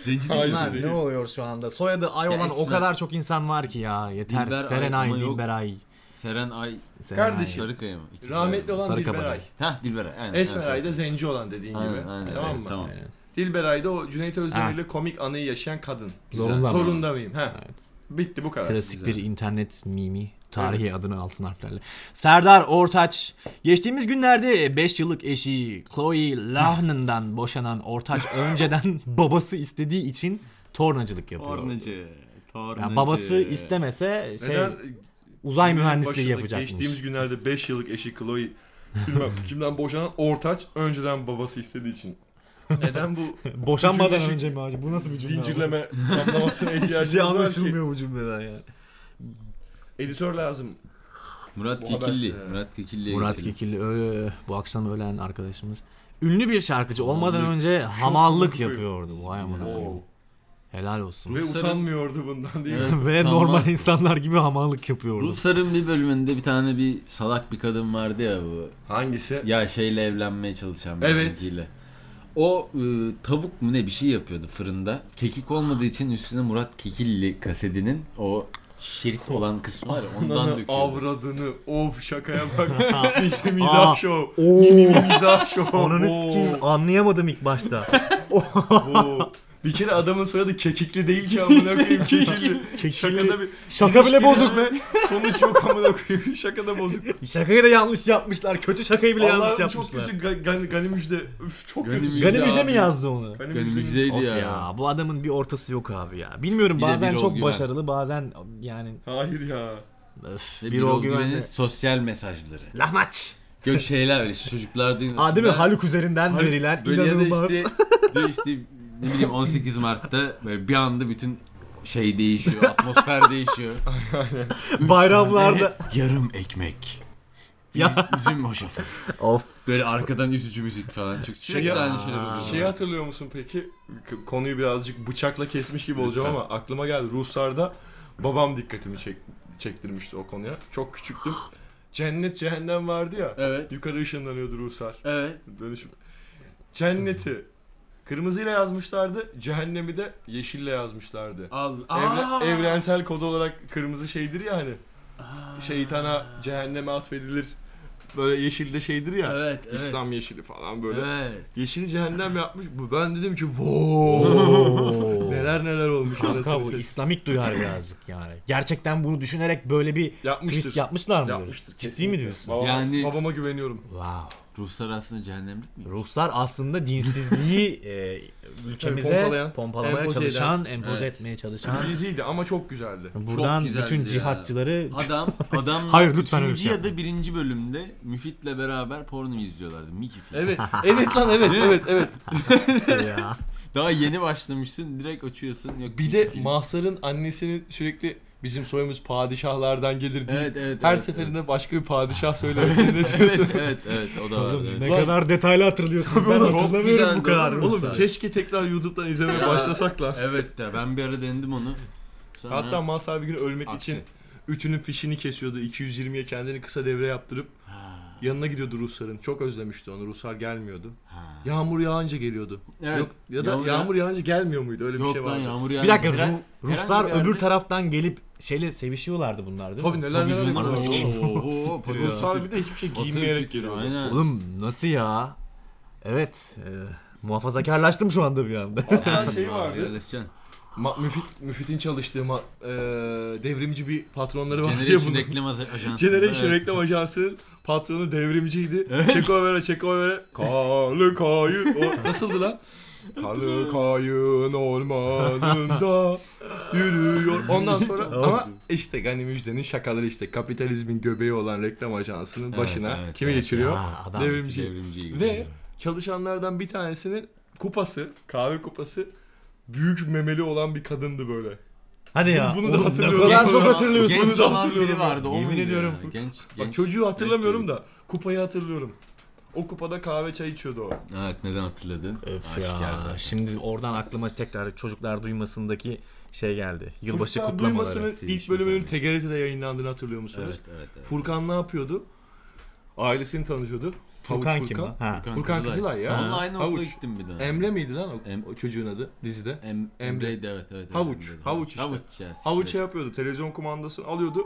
B: Zenci değil
A: Bunlar ne oluyor şu anda? Soyadı Ay olan o
B: Esmer-
A: kadar çok insan var ki ya. Yeter.
B: Dilber Ay
A: Serenay,
B: ama yok.
A: Dilberay.
B: Seren Ay.
A: Serenay.
F: Kardeşim.
B: Sarıkaya mı? İkisi
F: Rahmetli
B: var.
F: olan
A: Sarıkabada.
F: Dilberay.
B: Hah Dilberay. Aynen,
F: Esmeray da zenci olan dediğin
B: Aynen,
F: gibi.
B: aynen,
F: tamam
B: evet,
F: mı?
B: tamam.
F: Dilberay da o Cüneyt
A: Ha.
F: Özdemir'le komik anıyı yaşayan kadın.
B: Güzel.
A: Zorunda mı?
F: Zorunda mıyım? Heh.
A: Evet.
F: Bitti bu kadar.
A: Klasik
B: güzel.
A: bir internet mimi. Tarihi adını altın harflerle. Serdar Ortaç. Geçtiğimiz günlerde 5 yıllık eşi Chloe Lahnen'dan boşanan Ortaç önceden babası istediği için tornacılık yapıyor.
B: Tornacı. Tornacı.
A: Yani babası istemese şey
C: Neden
A: uzay
C: Günün
A: mühendisliği
C: başında
A: yapacakmış.
C: Geçtiğimiz günlerde 5 yıllık eşi Chloe bilmem kimden boşanan Ortaç önceden babası istediği için. Neden bu
A: Boşanmadan
C: Üçüncü
A: önce mi acaba? Bu nasıl bir cümle?
C: zincirleme tamlamasına
A: Hiçbir
C: ihtiyacımız
A: şey
C: var ki?
A: anlaşılmıyor bu cümleden ya.
C: Editör lazım.
B: Murat
C: haber
B: Kekilli.
C: size-
B: Murat Kekilli'ye
A: Murat
B: geçelim.
A: Kekilli ö- bu akşam ölen arkadaşımız. Ünlü bir şarkıcı olmadan
B: Hamallık.
A: önce hamallık
C: koyuyor.
A: yapıyordu. Vay amına koyayım.
C: Wow.
A: Helal olsun.
C: Ve
B: Ruhsar'ın-
C: utanmıyordu bundan değil mi?
B: Evet,
A: Ve
B: tam
A: normal
B: var.
A: insanlar gibi hamallık yapıyordu.
B: Ruhsar'ın bir bölümünde bir tane bir salak bir kadın vardı ya bu.
F: Hangisi?
B: Ya şeyle evlenmeye çalışan bir
F: Evet.
B: kızıyla. O e, tavuk mu ne bir şey yapıyordu fırında. Kekik olmadığı için üstüne Murat Kekilli kasetinin o şerit olan kısmı var ya ondan
C: Ananı
B: döküyordu.
C: avradını of şakaya bak. İşte
A: Aa.
C: mizah şov.
A: Oo,
C: Mizah şov.
A: ananı
C: Oo.
A: sikeyim anlayamadım ilk başta.
C: Oo. Bir kere adamın soyadı kekikli değil ki amına koyayım kekikli. Şakada bir
A: Şaka bile bozuk be.
C: be. Sonuç yok amına koyayım. Şakada bozuk.
A: Şakayı da yanlış yapmışlar. Kötü şakayı bile yanlış
C: Allah'ım çok
A: yapmışlar.
C: kötü Ga- Gani, Gani Müjde. Üf, çok
B: Gani
C: kötü. şey.
B: Müjde
A: Gani Müjde
B: abi.
A: mi yazdı onu?
C: Gani
B: Benim
C: Müjde'nin-
B: müjdeydi
A: Of
B: ya.
A: ya. bu adamın bir ortası yok abi ya. Bilmiyorum
B: Bir de
A: bazen
B: Birol
A: çok
B: Güven.
A: başarılı bazen yani
C: Hayır ya.
A: öf,
B: Ve
A: bir
B: Birol
A: o
B: Güven'in
A: güvenli.
B: sosyal mesajları.
A: Lahmaç.
B: Gök şeyler öyle işte çocuklar değil
A: Aa değil mi? Haluk üzerinden
B: Haluk
A: verilen
B: Hani Böyle ya da
A: inanılmaz.
B: işte, diyor işte ne bileyim 18 Mart'ta böyle bir anda bütün şey değişiyor, atmosfer değişiyor. Üç
A: Bayramlarda.
B: tane yarım ekmek.
A: Ya.
B: Ya. Üzüm hoşafı.
A: Of.
B: Böyle arkadan üzücü müzik falan. Çünkü sürekli
C: Şey-
B: aynı şeyler oluyor.
C: Şeyi hatırlıyor musun peki? K- Konuyu birazcık bıçakla kesmiş gibi olacağım
B: Lütfen.
C: ama aklıma geldi. Ruhsar'da babam dikkatimi çek, çektirmişti o konuya. Çok küçüktüm. Cennet cehennem vardı ya.
B: Evet.
C: Yukarı ışınlanıyordu Ruhsar.
B: Evet.
C: Dönüşüm. Cenneti kırmızıyla yazmışlardı. Cehennemi de yeşille yazmışlardı.
B: Al.
C: Evren- evrensel kod olarak kırmızı şeydir ya hani. Şeytana cehenneme atfedilir. Böyle yeşil de şeydir ya.
B: Evet, evet.
C: İslam yeşili falan böyle.
B: Evet.
C: Yeşili cehennem yapmış. Bu- Ben dedim ki wow. neler neler olmuş
A: Kanka
C: anasını
A: bu
C: satayım.
A: İslamik duyar birazcık yani. Gerçekten bunu düşünerek böyle bir
C: Yapmıştır.
A: twist yapmışlar mıdır?
C: Yapmıştır,
A: Ciddi mi
C: kesinlikle.
A: diyorsun?
C: Babama,
B: Yani-
C: babama güveniyorum.
A: Wow.
B: Ruhsar aslında cehennemlik mi?
A: Ruhsar aslında dinsizliği e, ülkemize
C: pompalayan,
A: pompalamaya
C: empoze eden.
A: çalışan, empoze
B: Evet.
A: etmeye çalışan.
C: İngiliziydi ama çok güzeldi.
A: Buradan
B: güzeldi
A: bütün
B: ya.
A: cihatçıları
B: Adam, adam
A: Hayır, lütfen öyle
B: ikinci
A: şey
B: ya da birinci bölümde Müfit'le beraber porno izliyorlardı. Mickey filmi.
C: Evet. Evet lan evet evet evet.
A: ya.
B: Daha yeni başlamışsın direkt açıyorsun. Yok,
C: Bir
B: Mickey
C: de
B: filmi.
C: Mahsar'ın annesinin sürekli bizim soyumuz padişahlardan gelir diye
B: Evet evet.
C: her
B: evet,
C: seferinde başka bir padişah söylemesini ne diyorsun?
B: Evet. evet evet evet o da var.
A: Oğlum, ne
C: Lan-
A: kadar detaylı hatırlıyorsun. Ben
C: oğlum, çok
A: hatırlamıyorum bu
B: güzeldi
A: kadar.
B: oğlum.
C: Oğlum
A: Ruhsar.
C: keşke tekrar YouTube'dan izlemeye
B: Ya.
C: başlasak lan.
B: Evet de ben bir ara denedim onu. Sonra
C: Hatta Mahsar bir gün ölmek
B: Aktı.
C: için ütünün fişini kesiyordu. 220'ye kendini kısa devre yaptırıp
B: Ha,
C: yanına gidiyordu Ruslar'ın. Çok özlemişti onu. Ruslar gelmiyordu.
B: ha.
C: Yağmur yağınca geliyordu.
B: Evet.
C: Yok ya da
B: Yağmur
C: yağmur,
B: ya-
C: yağınca gelmiyor muydu? Öyle bir
B: Yok
C: şey
B: lan
C: vardı.
B: yağmur yağdı.
A: Bir dakika
B: Her-
A: Ru- Ruslar
B: herhangi bir yerde-
A: öbür taraftan gelip şeyle sevişiyorlardı bunlar değil
C: Tabii
A: mi?
C: neler
B: Tabii
C: neler.
B: canım.
C: yapıyordu.
A: Anasını sikeyim.
B: Oo,
A: Siktir
B: patır
C: Ruslar
B: patır.
C: bir de hiçbir şey
B: Patır
C: giymeyerek
B: kütür,
C: geliyordu.
B: Aynen.
A: Oğlum nasıl ya? Evet. e, muhafazakarlaştım şu anda bir anda.
C: Hatta şey vardı.
B: Yerleşeceksin.
C: Ma- Müfit, Müfit'in çalıştığı ma- eee, devrimci bir patronları vardı ya
B: Generation
C: bunun.
B: reklam az- ajansı.
C: Generation
B: Evet.
C: Reklam Ajansı'nın patronu devrimciydi. Çeko Çekovere, Çeko Ömer'e. Kalı kayı. O nasıldı lan? Karı kayın ormanında yürüyor. Ondan sonra ama işte Gani Müjde'nin şakaları işte kapitalizmin göbeği olan reklam ajansının başına
B: evet,
C: kimi
B: evet.
C: geçiriyor?
A: Ya, adam
C: Devrimci.
B: Devrimciyi
C: Ve
B: gösteriyor.
C: çalışanlardan bir tanesinin kupası, kahve kupası büyük memeli olan bir kadındı böyle.
A: Hadi ya.
C: Bunu da
A: Oğlum,
C: hatırlıyorum.
A: Ne kadar çok
C: Bunu da-
A: hatırlıyorsun.
C: Bunu
A: Bunu
C: da
A: hatırlıyorum.
C: hatırlıyorum.
A: vardı. O
B: Yemin
A: muydu
B: ediyorum.
A: ya?
B: Genç,
C: Bak çocuğu hatırlamıyorum da kupayı hatırlıyorum. O kupada kahve çay içiyordu o.
B: Evet neden hatırladın?
A: Öf
B: Aşikar
A: ya.
B: zaten.
A: Şimdi oradan aklıma tekrar çocuklar duymasındaki şey geldi. Yılbaşı
C: Furkan
A: kutlamaları.
C: Duymasının ilk bölümünün TGRT'de yayınlandığını hatırlıyor musunuz?
B: Evet evet. evet.
C: Furkan ne yapıyordu? Ailesini tanıtıyordu.
A: Furkan
C: Havuç
A: kim?
C: Furkan.
A: lan? Ha.
C: Furkan Kızılay ya.
B: Onunla aynı okula
C: Havuç.
B: gittim bir daha.
C: Emre miydi lan o,
B: Em-
C: o çocuğun adı dizide?
B: Em, Emre'ydi evet evet. evet,
C: Havuç,
B: Emre'ydi.
C: havuç işte.
B: Havuç ya.
C: Havuç
B: siktir
C: şey
B: et.
C: yapıyordu. Televizyon kumandasını alıyordu.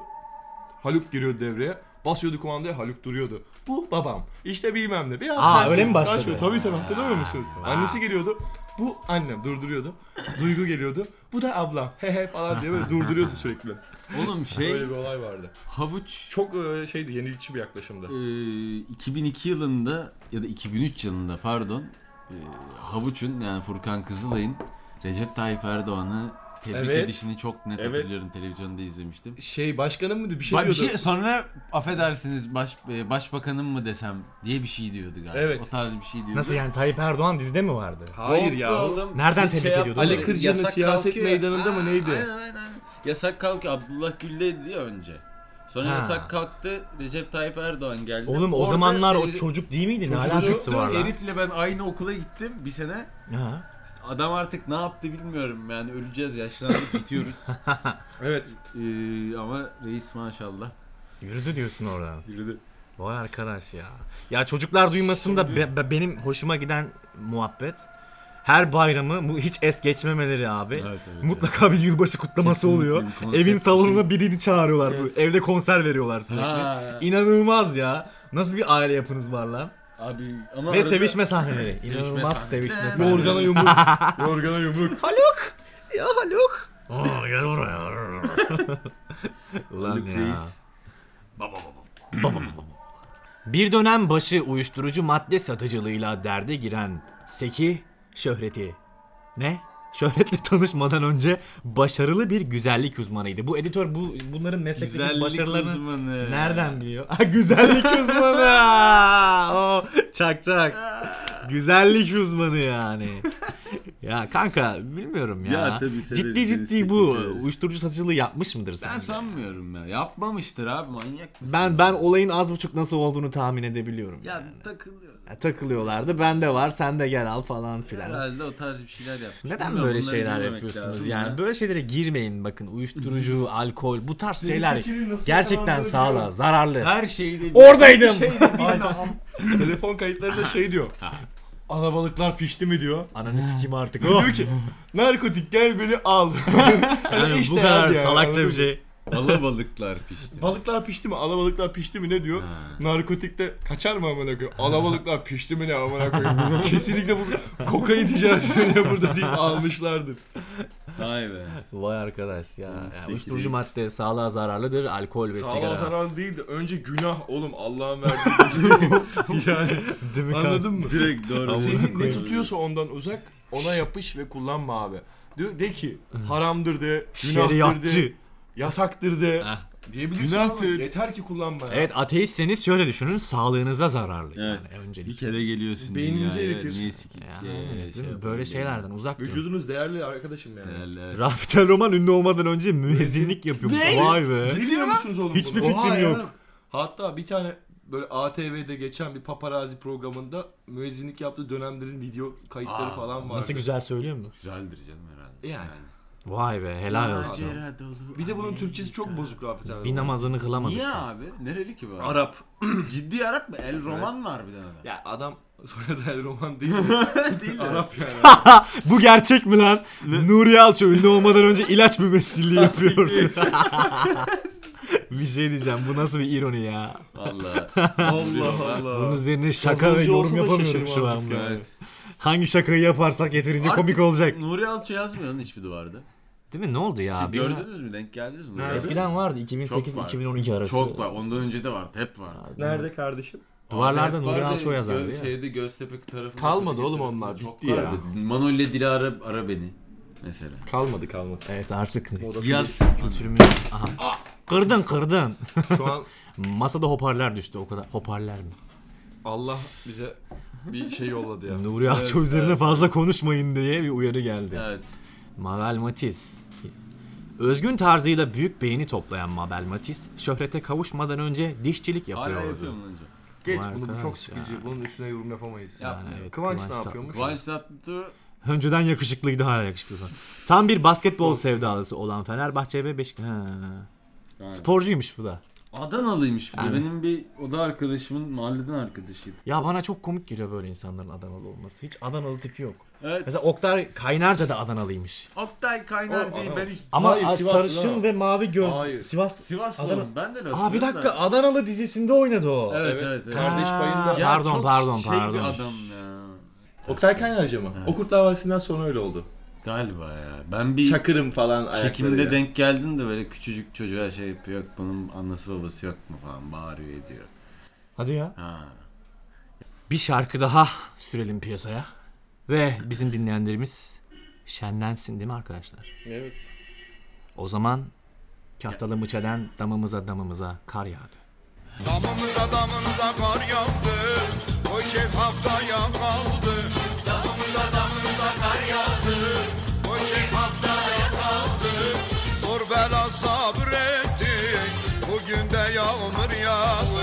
C: Haluk giriyordu devreye. Basıyordu kumandaya Haluk duruyordu. Bu babam. İşte bilmem ne. Biraz
A: Aa,
C: sakin.
A: öyle mi başladı?
C: Başlıyor. Tabii tabii hatırlamıyor musunuz? Annesi geliyordu. Bu annem durduruyordu. Duygu geliyordu. Bu da ablam. He he falan diye böyle durduruyordu sürekli.
B: Oğlum şey
C: Böyle bir olay vardı.
B: havuç
C: Çok e, şeydi yenilikçi bir yaklaşımdı.
B: e, 2002 yılında ya da 2003 yılında pardon e, havuçun yani Furkan Kızılay'ın Recep Tayyip Erdoğan'ı tebrik
C: Evet.
B: edişini çok net
C: Evet.
B: hatırlıyorum televizyonda izlemiştim.
C: Şey başkanım mıydı bir şey
B: Ba- bir
C: diyordu.
B: şey sonra affedersiniz baş, e, başbakanım mı desem diye bir şey diyordu galiba.
C: Evet.
B: O tarz bir şey diyordu.
A: Nasıl yani Tayyip Erdoğan dizide mi vardı?
C: Hayır
B: Yok
C: ya.
B: be oğlum,
A: Nereden
B: şey
A: tebrik
B: yap-
A: ediyordu?
C: Ali Kırca'nın
B: Yasak
C: siyaset
B: kalkıyor.
C: meydanında mı
B: Aa,
C: neydi?
B: Aynen aynen. aynen. Yasak kalkıyor. Abdullah Gül'deydi ya önce. Sonra
A: Ha.
B: yasak kalktı. Recep Tayyip Erdoğan geldi.
A: Oğlum o
B: Orada
A: zamanlar o
B: Eri-
A: çocuk değil miydi? Ne
B: Çocuğu-
A: alakası var lan?
B: Herifle ben aynı okula gittim bir sene.
A: Ha.
B: Adam artık ne yaptı bilmiyorum yani öleceğiz yaşlandık bitiyoruz.
C: Evet.
B: Ee, ama reis maşallah.
A: Yürüdü diyorsun oradan.
C: Yürüdü.
A: Vay arkadaş ya. Ya çocuklar duymasında be- be- benim hoşuma giden muhabbet. Her bayramı bu hiç es geçmemeleri abi.
B: evet, evet.
A: Mutlaka bir yılbaşı kutlaması
B: Kesinlikle
A: oluyor.
B: bir konsept
A: Evin
B: bir
A: salonuna
B: şey.
A: birini çağırıyorlar. bu. Evde konser veriyorlar sürekli.
B: Ha.
A: İnanılmaz ya. Nasıl bir aile yapınız var lan?
B: Abi ama
A: Ve
B: arada-
A: sevişme sahneleri.
B: Sevişme
A: İnanılmaz
B: sahneleri.
A: sevişme sahneleri.
C: Yorgana yumruk. Yorgana yumruk.
A: Ya Haluk. Oo gel buraya. Ulan ya.
B: Reis.
A: Bir dönem başı uyuşturucu madde satıcılığıyla derde giren Seki şöhreti. Ne? Şöhretle tanışmadan önce başarılı bir güzellik uzmanıydı. Bu editör bu bunların meslekteki
B: Güzellik
A: başarılarını
B: uzmanı.
A: nereden biliyor? Ha, güzellik uzmanı. o çak çak. Güzellik uzmanı yani. ya kanka bilmiyorum ya.
B: Ya tabii severiz,
A: ciddi
B: severiz,
A: ciddi
B: severiz,
A: bu
B: severiz.
A: uyuşturucu satıcılığı yapmış mıdır sen?
B: Ben sanmıyorum ya. Yapmamıştır abi manyak mısın?
A: ben
B: ya?
A: ben olayın az buçuk nasıl olduğunu tahmin edebiliyorum.
B: Ya
A: yani.
B: takılıyor.
A: Ya takılıyorlardı. Bende var, sen de gel al falan filan.
B: Herhalde o tarz bir şeyler yapmış.
A: Neden
B: Bilmiyorum,
A: böyle
B: bunları
A: şeyler
B: bilmemek
A: yapıyorsunuz?
B: lazım
A: yani
B: ya.
A: böyle şeylere girmeyin bakın. Uyuşturucu, alkol bu tarz şeyler
C: ikili nasıl
A: gerçekten
C: yakalandığını
A: sağlığa zararlı.
B: her şey- şeyde bir-
A: Oradaydım.
C: Telefon kayıtlarında şey diyor. Alabalıklar pişti mi diyor.
A: Ananı sikeyim artık. Oh.
C: Diyor ki narkotik gel beni al.
A: Yani
C: işte
A: bu kadar
C: abi ya,
A: salakça
C: anladın
A: bir
C: mı?
A: şey.
B: Alabalıklar pişti.
C: Balıklar pişti mi? Alabalıklar pişti mi ne diyor? Narkotikte kaçar mı amına koyayım? Alabalıklar pişti mi ne amına koyayım? Kesinlikle bu kokain ticaretini burada değil almışlardır.
B: Vay be.
A: Vay arkadaş ya. ya
B: Sekiz.
A: uyuşturucu madde sağlığa zararlıdır. Alkol ve sigara.
C: Sağlığa zararlı değil de önce günah oğlum Allah'ın verdiği. şey. yani
A: Değil mi kanka?
C: anladın mı?
B: Direkt doğru.
C: Seni ne tutuyorsa ondan uzak ona yapış ve kullanma abi. Diyor, de ki haramdır de, günahtır de,
A: Şeriatçı.
C: yasaktır de.
B: Diyebilirsin.
C: Günahtır. Yeter ki kullanma ya.
A: Evet ateistseniz şöyle düşünün. Sağlığınıza zararlı.
B: Evet.
A: Yani
B: Bir
A: öncelik.
B: kere geliyorsun
C: Beyninizi eritir.
B: Niye sikik
A: Ya,
B: şey,
A: değil
B: şey
A: mi?
B: yapalım
A: Böyle
B: diye.
A: şeylerden uzak durun.
C: Vücudunuz değerli arkadaşım yani.
B: Değerli, evet.
A: Rafael Roman ünlü olmadan önce müezzinlik yapıyormuş. Vay be.
C: Biliyor musunuz oğlum
A: Hiçbir
C: bunu?
A: fikrim yok.
C: Hatta bir tane böyle ATV'de geçen bir paparazi programında müezzinlik yaptığı dönemlerin video kayıtları
B: Aa,
C: falan vardı.
A: Nasıl güzel söylüyor mu?
B: Güzeldir canım herhalde.
C: Yani.
A: Vay be helal olsun.
B: Macera dolu
C: Bir de bunun
B: Amerika.
C: Türkçesi çok bozuk Rafet abi.
A: Bir namazını kılamadık.
B: Niye abi? Nereli ki bu? adam?
C: Arap.
B: Ciddi Arap mı? El Roman var bir tane.
C: Ya adam sonra da el roman değil.
B: Değil de.
C: Arap yani.
A: Bu gerçek mi lan? Nuri Alço ünlü olmadan önce ilaç mümessilliği yapıyordu. bir şey diyeceğim bu nasıl bir ironi ya.
B: Vallahi.
C: Allah Allah.
A: Bunun üzerine şaka ve
C: Yazılımcı
A: yorum
C: olsa da
A: yapamıyorum şu an.
C: şaşırmazdık yani.
A: Hangi şakayı yaparsak yeterince
B: Artık-
A: komik olacak.
B: Nuri Alço yazmıyor lan hiçbir duvarda.
A: Değil mi ne oldu ya?
B: Siz
A: Bir ara-
B: gördünüz Şey, mü? Denk geldiniz mi?
A: Eskiden vardı
B: Çok var.
A: 2008-2012 arası.
B: Çok var. Ondan önce de vardı. Hep vardı.
C: Nerede kardeşim?
G: Duvarlarda
B: hep şey-
G: Nuri
B: vardı,
G: Alço yazardı
B: gö-
G: ya.
B: Şeyde Göztepe tarafında.
C: Kalmadı oğlum onlar,
B: Çok
C: bitti ya.
B: vardı. Manol ile Dilara ara, ara beni. Mesela.
C: Kalmadı kalmadı.
A: Evet artık
B: Yaz.
A: kültürümüz... Aha. Kırdın kırdın.
C: Şu an
A: Masada hoparlör düştü o kadar. Hoparlör mü?
C: Allah bize bir şey yolladı ya.
A: Nuri Akço üzerine fazla konuşmayın diye bir uyarı geldi.
B: Evet.
A: Mabel Matiz. Özgün tarzıyla büyük beğeni toplayan Mabel Matiz, şöhrete kavuşmadan önce dişçilik
B: Hala
A: yapıyordu.
B: yapıyorum önce.
C: Geç
A: Vay
C: bunu bu çok
A: arkadaş
C: sıkıcı. Bunun üstüne yorum yapamayız.
A: Yani evet,
C: Kıvanç,
A: Kıvanç
C: ne
A: tatlı.
C: yapıyormuş?
B: Kıvanç Tatlıtuğ
A: Önceden yakışıklıydı hala yakışıklı. falan. Tam bir basketbol sevdalısı olan Fenerbahçe ve Beşiktaş. Ha. Sporcuymuş bu da.
B: Adanalıymış bir de.
A: Yani.
B: Benim bir oda arkadaşımın mahalleden arkadaşıydı.
A: Ya bana çok komik geliyor böyle insanların Adanalı olması. Hiç Adanalı tipi yok.
B: Evet.
A: Mesela Oktar Kaynarca da Adanalıymış.
B: Oktay Kaynarca'yı ben hiç...
A: Ama
B: Hayır,
A: a-
B: Sivaslı
A: sarışın
B: ama.
A: ve mavi göz.
C: Hayır.
A: Sivas.
B: Sivaslı
A: Adana-
B: oğlum, ben de öyle
A: Aa bir
B: hatırlıyorum
A: dakika
B: da.
A: Adanalı dizisinde oynadı o.
B: Evet evet evet.
C: Kardeş payında.
B: Ya
A: Pardon,
B: çok
A: pardon,
B: şey
A: pardon.
B: bir adam ya.
F: Oktay Kaynarca mı? O Kurt Davası'ndan sonra öyle oldu.
B: Galiba ya. Ben bir
F: Çakırım falan
B: çekimde
F: ayaklarıyla.
B: denk geldin de böyle küçücük çocuğa şey yapıyor. Yok bunun annesi babası yok mu falan bağırıyor ediyor.
A: Hadi ya.
B: Ha.
A: Bir şarkı daha sürelim piyasaya. Ve bizim dinleyenlerimiz şenlensin değil mi arkadaşlar? Evet. O zaman Kahtalı Mıça'dan damımıza damımıza kar yağdı.
H: Damımıza damımıza kar yağdı Oy keyf haftaya kaldı Damımıza damımıza kar yağdı Oy keyf haftaya kaldı Zor bela sabrettik Bugün de yağmur yağdı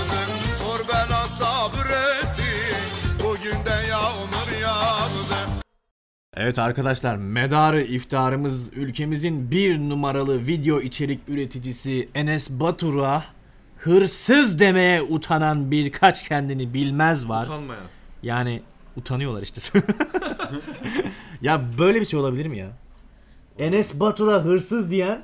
H: Zor bela sabrettik Bugün de yağmur yağdı
A: Evet arkadaşlar medarı iftarımız ülkemizin bir numaralı video içerik üreticisi Enes Batur'a hırsız demeye utanan birkaç kendini bilmez var.
C: Utanmayan.
A: Yani utanıyorlar işte. ya böyle bir şey olabilir mi ya? Enes Batur'a hırsız diyen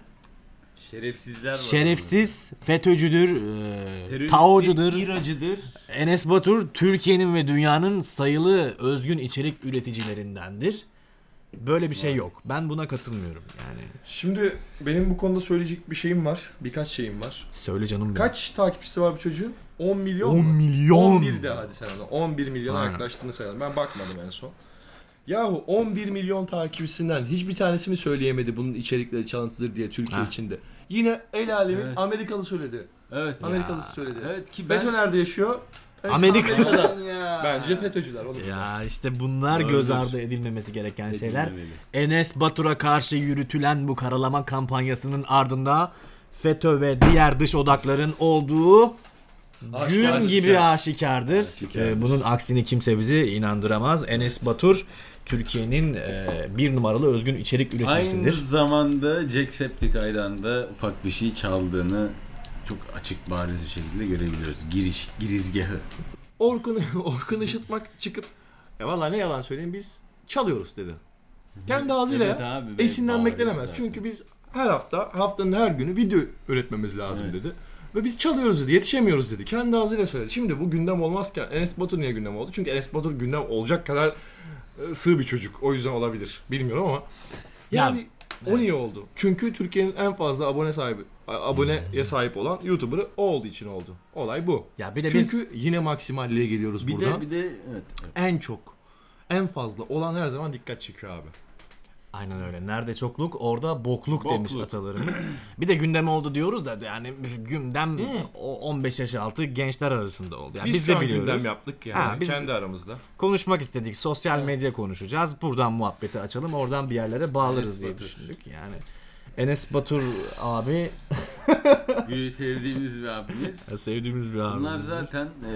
B: Şerefsizler var.
A: Şerefsiz FETÖ'cüdür, e,
B: Teröristlik
A: TAO'cudur.
B: İracıdır.
A: Enes Batur Türkiye'nin ve dünyanın sayılı özgün içerik üreticilerindendir. Böyle bir şey yok. Ben buna katılmıyorum yani.
F: Şimdi benim bu konuda söyleyecek bir şeyim var. Birkaç şeyim var.
A: Söyle canım benim.
F: Kaç takipçisi var bu çocuğun? 10 milyon
A: 10
F: mu?
A: milyon.
F: 11 de hadi sen ona. 11 milyona
A: Aynen.
F: yaklaştığını sayalım. Ben bakmadım en son. Yahu 11 milyon takipçisinden hiçbir tanesi mi söyleyemedi bunun içerikleri çalıntıdır diye Türkiye
A: Ha.
F: içinde? Yine el alemin
B: Evet.
F: Amerikalı söyledi.
B: Evet.
F: Amerikalısı söyledi.
B: Evet ki ben...
F: FETÖ nerede yaşıyor? Pensilvanya'da.
A: Amerika-
B: ya.
F: Bence FETÖ'cüler oğlum.
A: Ya işte bunlar
B: Doğrudur.
A: göz ardı edilmemesi gereken şeyler.
B: Edilmemeli.
A: Enes Batur'a karşı yürütülen bu karalama kampanyasının ardında FETÖ ve diğer dış odakların olduğu gün gibi aşikardır. Ee, bunun aksini kimse bizi inandıramaz. Enes Batur Türkiye'nin e, bir numaralı özgün içerik
B: Aynı
A: üreticisidir.
B: zamanda Jacksepticeye'dan da ufak bir şey çaldığını çok açık bariz bir şekilde görebiliyoruz. Giriş, girizgahı.
G: Orkun, Orkun Işıtmak çıkıp ya vallahi ne yalan söyleyeyim biz çalıyoruz dedi. Kendi ağzıyla
B: Evet
G: ya.
B: abi,
G: esinlenmek
B: bariz
G: beklenemez.
B: zaten.
G: Çünkü biz her hafta haftanın her günü video üretmemiz lazım
B: Evet.
G: dedi. Ve biz çalıyoruz dedi, yetişemiyoruz dedi. Kendi ağzıyla söyledi. Şimdi bu gündem olmazken Enes Batur niye gündem oldu? Çünkü Enes Batur gündem olacak kadar e, sığ bir çocuk. O yüzden olabilir. Bilmiyorum ama. Yani
A: Yani,
G: o niye oldu? Çünkü Türkiye'nin en fazla abone sahibi a-
B: Hmm.
G: aboneye sahip olan YouTuber'ı o olduğu için oldu. Olay bu.
A: ya bir de biz
G: Çünkü yine maksimalliğe geliyoruz
B: Bir
G: buradan.
B: de bir de evet. evet.
G: En çok, en fazla olan her zaman dikkat çekiyor abi.
A: aynen öyle. Nerede çokluk orada bokluk, demiş
B: Bokluk.
A: atalarımız. bir de gündem oldu diyoruz da yani gündem o 15 yaş altı gençler arasında oldu. Yani
G: Biz,
A: biz,
G: şu
A: de
G: an
A: biliyoruz.
G: gündem yaptık yani
A: Ha, biz-
G: kendi aramızda.
A: konuşmak istedik. Sosyal medya konuşacağız. Buradan muhabbeti açalım. Oradan bir yerlere bağlarız diye düşündük yani. Enes Batur abi
B: Bir sevdiğimiz bir abimiz.
A: sevdiğimiz bir abi.
B: Bunlar zaten e,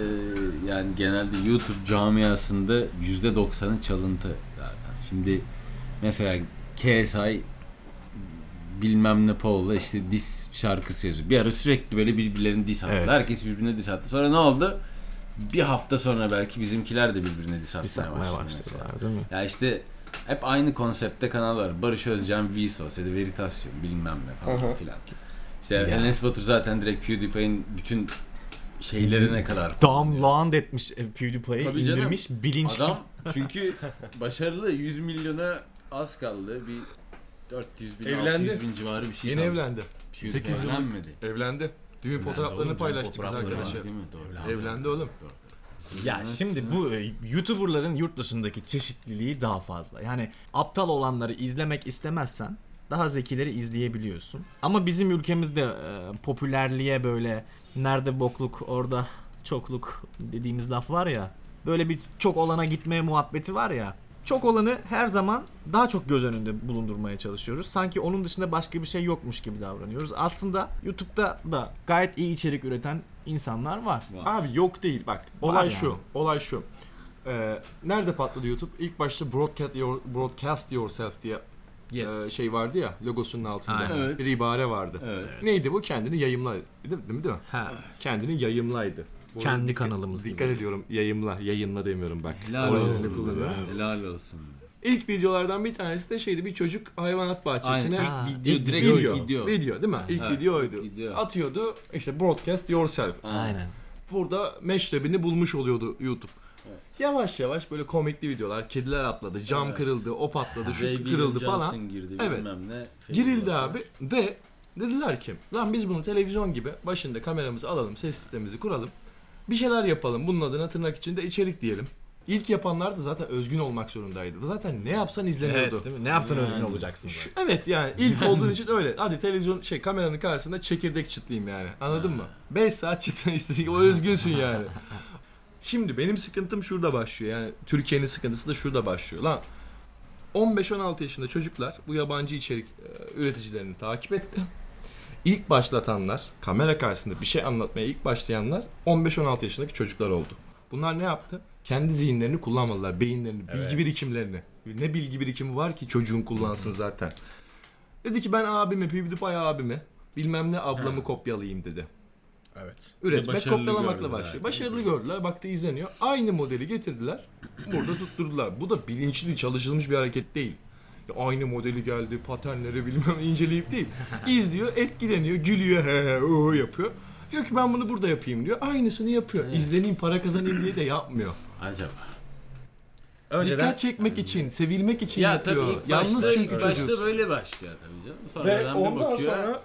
B: yani genelde YouTube camiasında %90'ı çalıntı zaten. Şimdi mesela KSI bilmem ne Paul'la işte diss şarkısı yazıyor. Bir ara sürekli böyle birbirlerine diss attı.
A: Evet.
B: Herkes birbirine diss attı. Sonra ne oldu? Bir hafta sonra belki bizimkiler de birbirine diss atmaya,
A: Biz yapmaya
B: başladı. mesela.
A: başladılar değil mi?
B: Ya işte hep aynı konseptte kanallar. Barış Özcan, Vsauce ya da Veritasyon bilmem ne falan filan. İşte Enes Batur zaten direkt PewDiePie'in bütün şeylerine kadar.
A: Damland etmiş e, PewDiePie'yi
B: Tabii canım.
A: indirmiş bilinçli.
B: Adam çünkü başarılı 100 milyona az kaldı. Bir 400 bin,
G: Evlendi.
B: 600 bin civarı bir şey
G: Yeni
B: kaldı.
G: evlendi.
B: PewDiePie
G: 8 yıllık
B: evlenmedi.
G: Evlendi. Düğün fotoğraflarını
B: Oğlum,
G: paylaştık biz
B: fotoğrafları var
G: arkadaşlar.
B: değil mi? Doğru.
G: Evlendi oğlum.
A: Ya şimdi bu e, YouTuber'ların yurt dışındaki çeşitliliği daha fazla. Yani aptal olanları izlemek istemezsen daha zekileri izleyebiliyorsun. Ama bizim ülkemizde e, popülerliğe böyle nerede bokluk orada çokluk dediğimiz laf var ya. Böyle bir çok olana gitme muhabbeti var ya. Çok olanı her zaman daha çok göz önünde bulundurmaya çalışıyoruz. Sanki onun dışında başka bir şey yokmuş gibi davranıyoruz. Aslında YouTube'da da gayet iyi içerik üreten insanlar var.
C: Abi yok değil bak.
A: Var
C: Olay
A: yani.
C: şu. Olay şu. Ee, nerede patladı YouTube? İlk başta broadcast, your, broadcast yourself diye e, şey vardı ya logosunun altında
A: Aynen.
B: Evet.
C: bir ibare vardı.
B: Evet.
C: Neydi bu? Kendini yayımla. Değil mi? Değil mi?
A: Ha.
C: Kendini yayımlaydı. Bu arada
A: Kendi
C: dikkat-
A: kanalımız gibi.
C: Dikkat ediyorum. Yayımla. Yayınla demiyorum bak.
B: Helal
C: Orasını
B: olsun.
C: kullanıyorum.
B: be. Helal olsun. be.
C: İlk videolardan bir tanesi de şeydi bir çocuk hayvanat bahçesine
B: Aynen.
A: Ha,
B: İlk video
C: ilk
B: direkt
C: video.
B: ilk video.
C: Video değil mi? İlk
B: Evet,
C: videoydu.
B: ilk video.
C: Atıyordu işte broadcast yourself.
A: Aynen.
C: Burada meşrebini bulmuş oluyordu YouTube. Yavaş yavaş böyle komikli videolar, kediler atladı, cam kırıldı, o patladı, şu
B: Ray William
C: kırıldı falan.
B: Johnson girdi
C: Evet.
B: bilmem ne.
C: Girildi
B: Falan.
C: abi ve dediler ki lan biz bunu televizyon gibi başında kameramızı alalım, ses sistemimizi kuralım. Bir şeyler yapalım. Bunun adına tırnak içinde içerik diyelim. İlk yapanlar da zaten özgün olmak zorundaydı. Zaten ne yapsan izleniyordu.
A: Evet, değil mi? Ne yapsan özgün olacaksın.
C: Şu- evet yani ilk olduğun için öyle. Hadi televizyon şey kameranın karşısında çekirdek çitleyeyim yani. Anladın mı? 5 saat çitlen istedik. O özgünsün yani. Şimdi benim sıkıntım şurada başlıyor. Yani Türkiye'nin sıkıntısı da şurada başlıyor. Lan 15-16 yaşında çocuklar bu yabancı içerik e, üreticilerini takip etti. İlk başlatanlar, kamera karşısında bir şey anlatmaya ilk başlayanlar 15-16 yaşındaki çocuklar oldu. Bunlar ne yaptı? Kendi zihinlerini kullanmadılar, beyinlerini, bilgi birikimlerini. Ne bilgi birikimi var ki çocuğun kullansın zaten. Dedi ki ben abimi, PewDiePie abimi, bilmem ne ablamı kopyalayayım dedi.
I: Evet.
C: Üretmek
B: başarılı
C: kopyalamakla
B: gördüler.
C: başlıyor. Başarılı gördüler, baktı izleniyor. Aynı modeli getirdiler, burada tutturdular. Bu da bilinçli, çalışılmış bir hareket değil. Ya aynı modeli geldi, paternleri bilmem inceleyip değil. İzliyor, etkileniyor, gülüyor, he he, o yapıyor. Diyor ki ben bunu burada yapayım diyor. Aynısını yapıyor. İzleneyim, para kazanayım diye de yapmıyor.
B: Acaba.
C: Dikkat çekmek için, sevilmek için
B: Ya tabii
C: yapıyor.
B: ilk
C: Yalnız
B: başta,
C: çünkü
B: ilk başta
C: çocuğuz.
B: böyle başlıyor tabii canım.
C: Ve
B: Sonradan bir
C: ondan
B: bakıyor.
C: sonra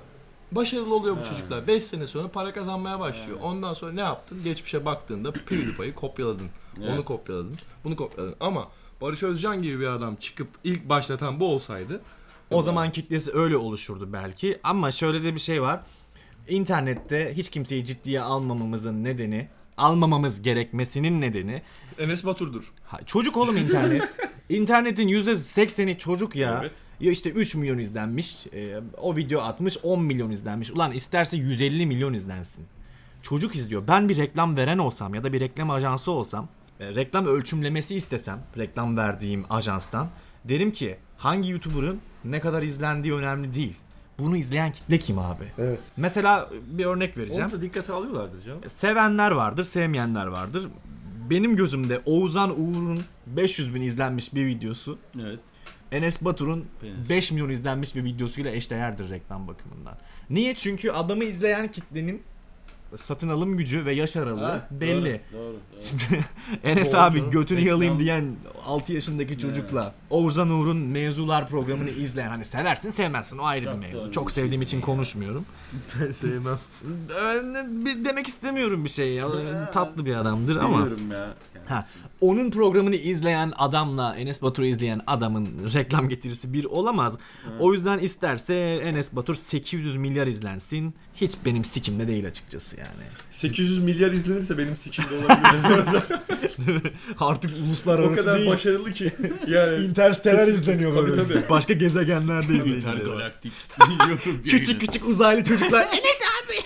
C: başarılı oluyor bu çocuklar. 5 sene sonra para kazanmaya başlıyor. Ondan sonra ne yaptın? Geçmişe baktığında PewDiePie'yi kopyaladın. Onu kopyaladın. Bunu kopyaladın. Ama Barış Özcan gibi bir adam çıkıp ilk başlatan bu olsaydı
A: O zaman kitlesi öyle oluşurdu belki ama şöyle de bir şey var. İnternette hiç kimseyi ciddiye almamamızın nedeni, almamamız gerekmesinin nedeni
C: Enes Batur'dur.
A: Ha, çocuk oğlum internet. İnternetin %80'i çocuk ya.
I: Evet.
A: Ya işte 3 milyon izlenmiş, e, o video atmış 10 milyon izlenmiş. Ulan isterse 150 milyon izlensin. Çocuk izliyor. Ben bir reklam veren olsam ya da bir reklam ajansı olsam, e, reklam ölçümlemesi istesem reklam verdiğim ajanstan derim ki hangi YouTuber'ın ne kadar izlendiği önemli değil. Bunu izleyen kitle kim abi?
C: Evet.
A: Mesela bir örnek vereceğim.
C: Onu da dikkate alıyorlardır canım.
A: Sevenler vardır, sevmeyenler vardır. Benim gözümde Oğuzhan Uğur'un 500 bin izlenmiş bir videosu
B: Evet.
A: Enes Batur'un
B: Enes.
A: 5 milyon izlenmiş bir videosuyla eşdeğerdir reklam bakımından. Niye? Çünkü adamı izleyen kitlenin satın alım gücü ve yaş aralığı
B: Ha,
A: belli.
B: Doğru. doğru, doğru.
A: Enes
B: Doğru,
A: abi
B: doğru.
A: götünü
B: Reklam-
A: yalayayım diyen 6 yaşındaki çocukla Oğuzhan Uğur'un mevzular programını izleyen hani seversin sevmezsin o ayrı bir mevzu.
B: doğru.
A: Çok sevdiğim için konuşmuyorum.
C: Ben sevmem.
A: Ben Ee, bir- Demek istemiyorum bir şey ya.
I: Ee,
A: Tatlı bir adamdır ama.
B: Seviyorum ya.
A: Ha, onun programını izleyen adamla Enes Batur'u izleyen adamın reklam getirisi bir olamaz. O yüzden isterse Enes Batur 800 milyar izlensin. Hiç benim sikimde değil açıkçası yani.
I: 800 milyar izlenirse benim sikimde olabilir.
A: Artık
I: o
A: uluslararası
I: kadar
A: değil.
I: başarılı ki. Yani
A: Interstellar izleniyor böyle.
I: Tabii, tabii.
A: Başka gezegenlerde izleniyor.
B: Intergalaktik YouTube yayını.
A: küçük küçük uzaylı çocuklar. Enes abi.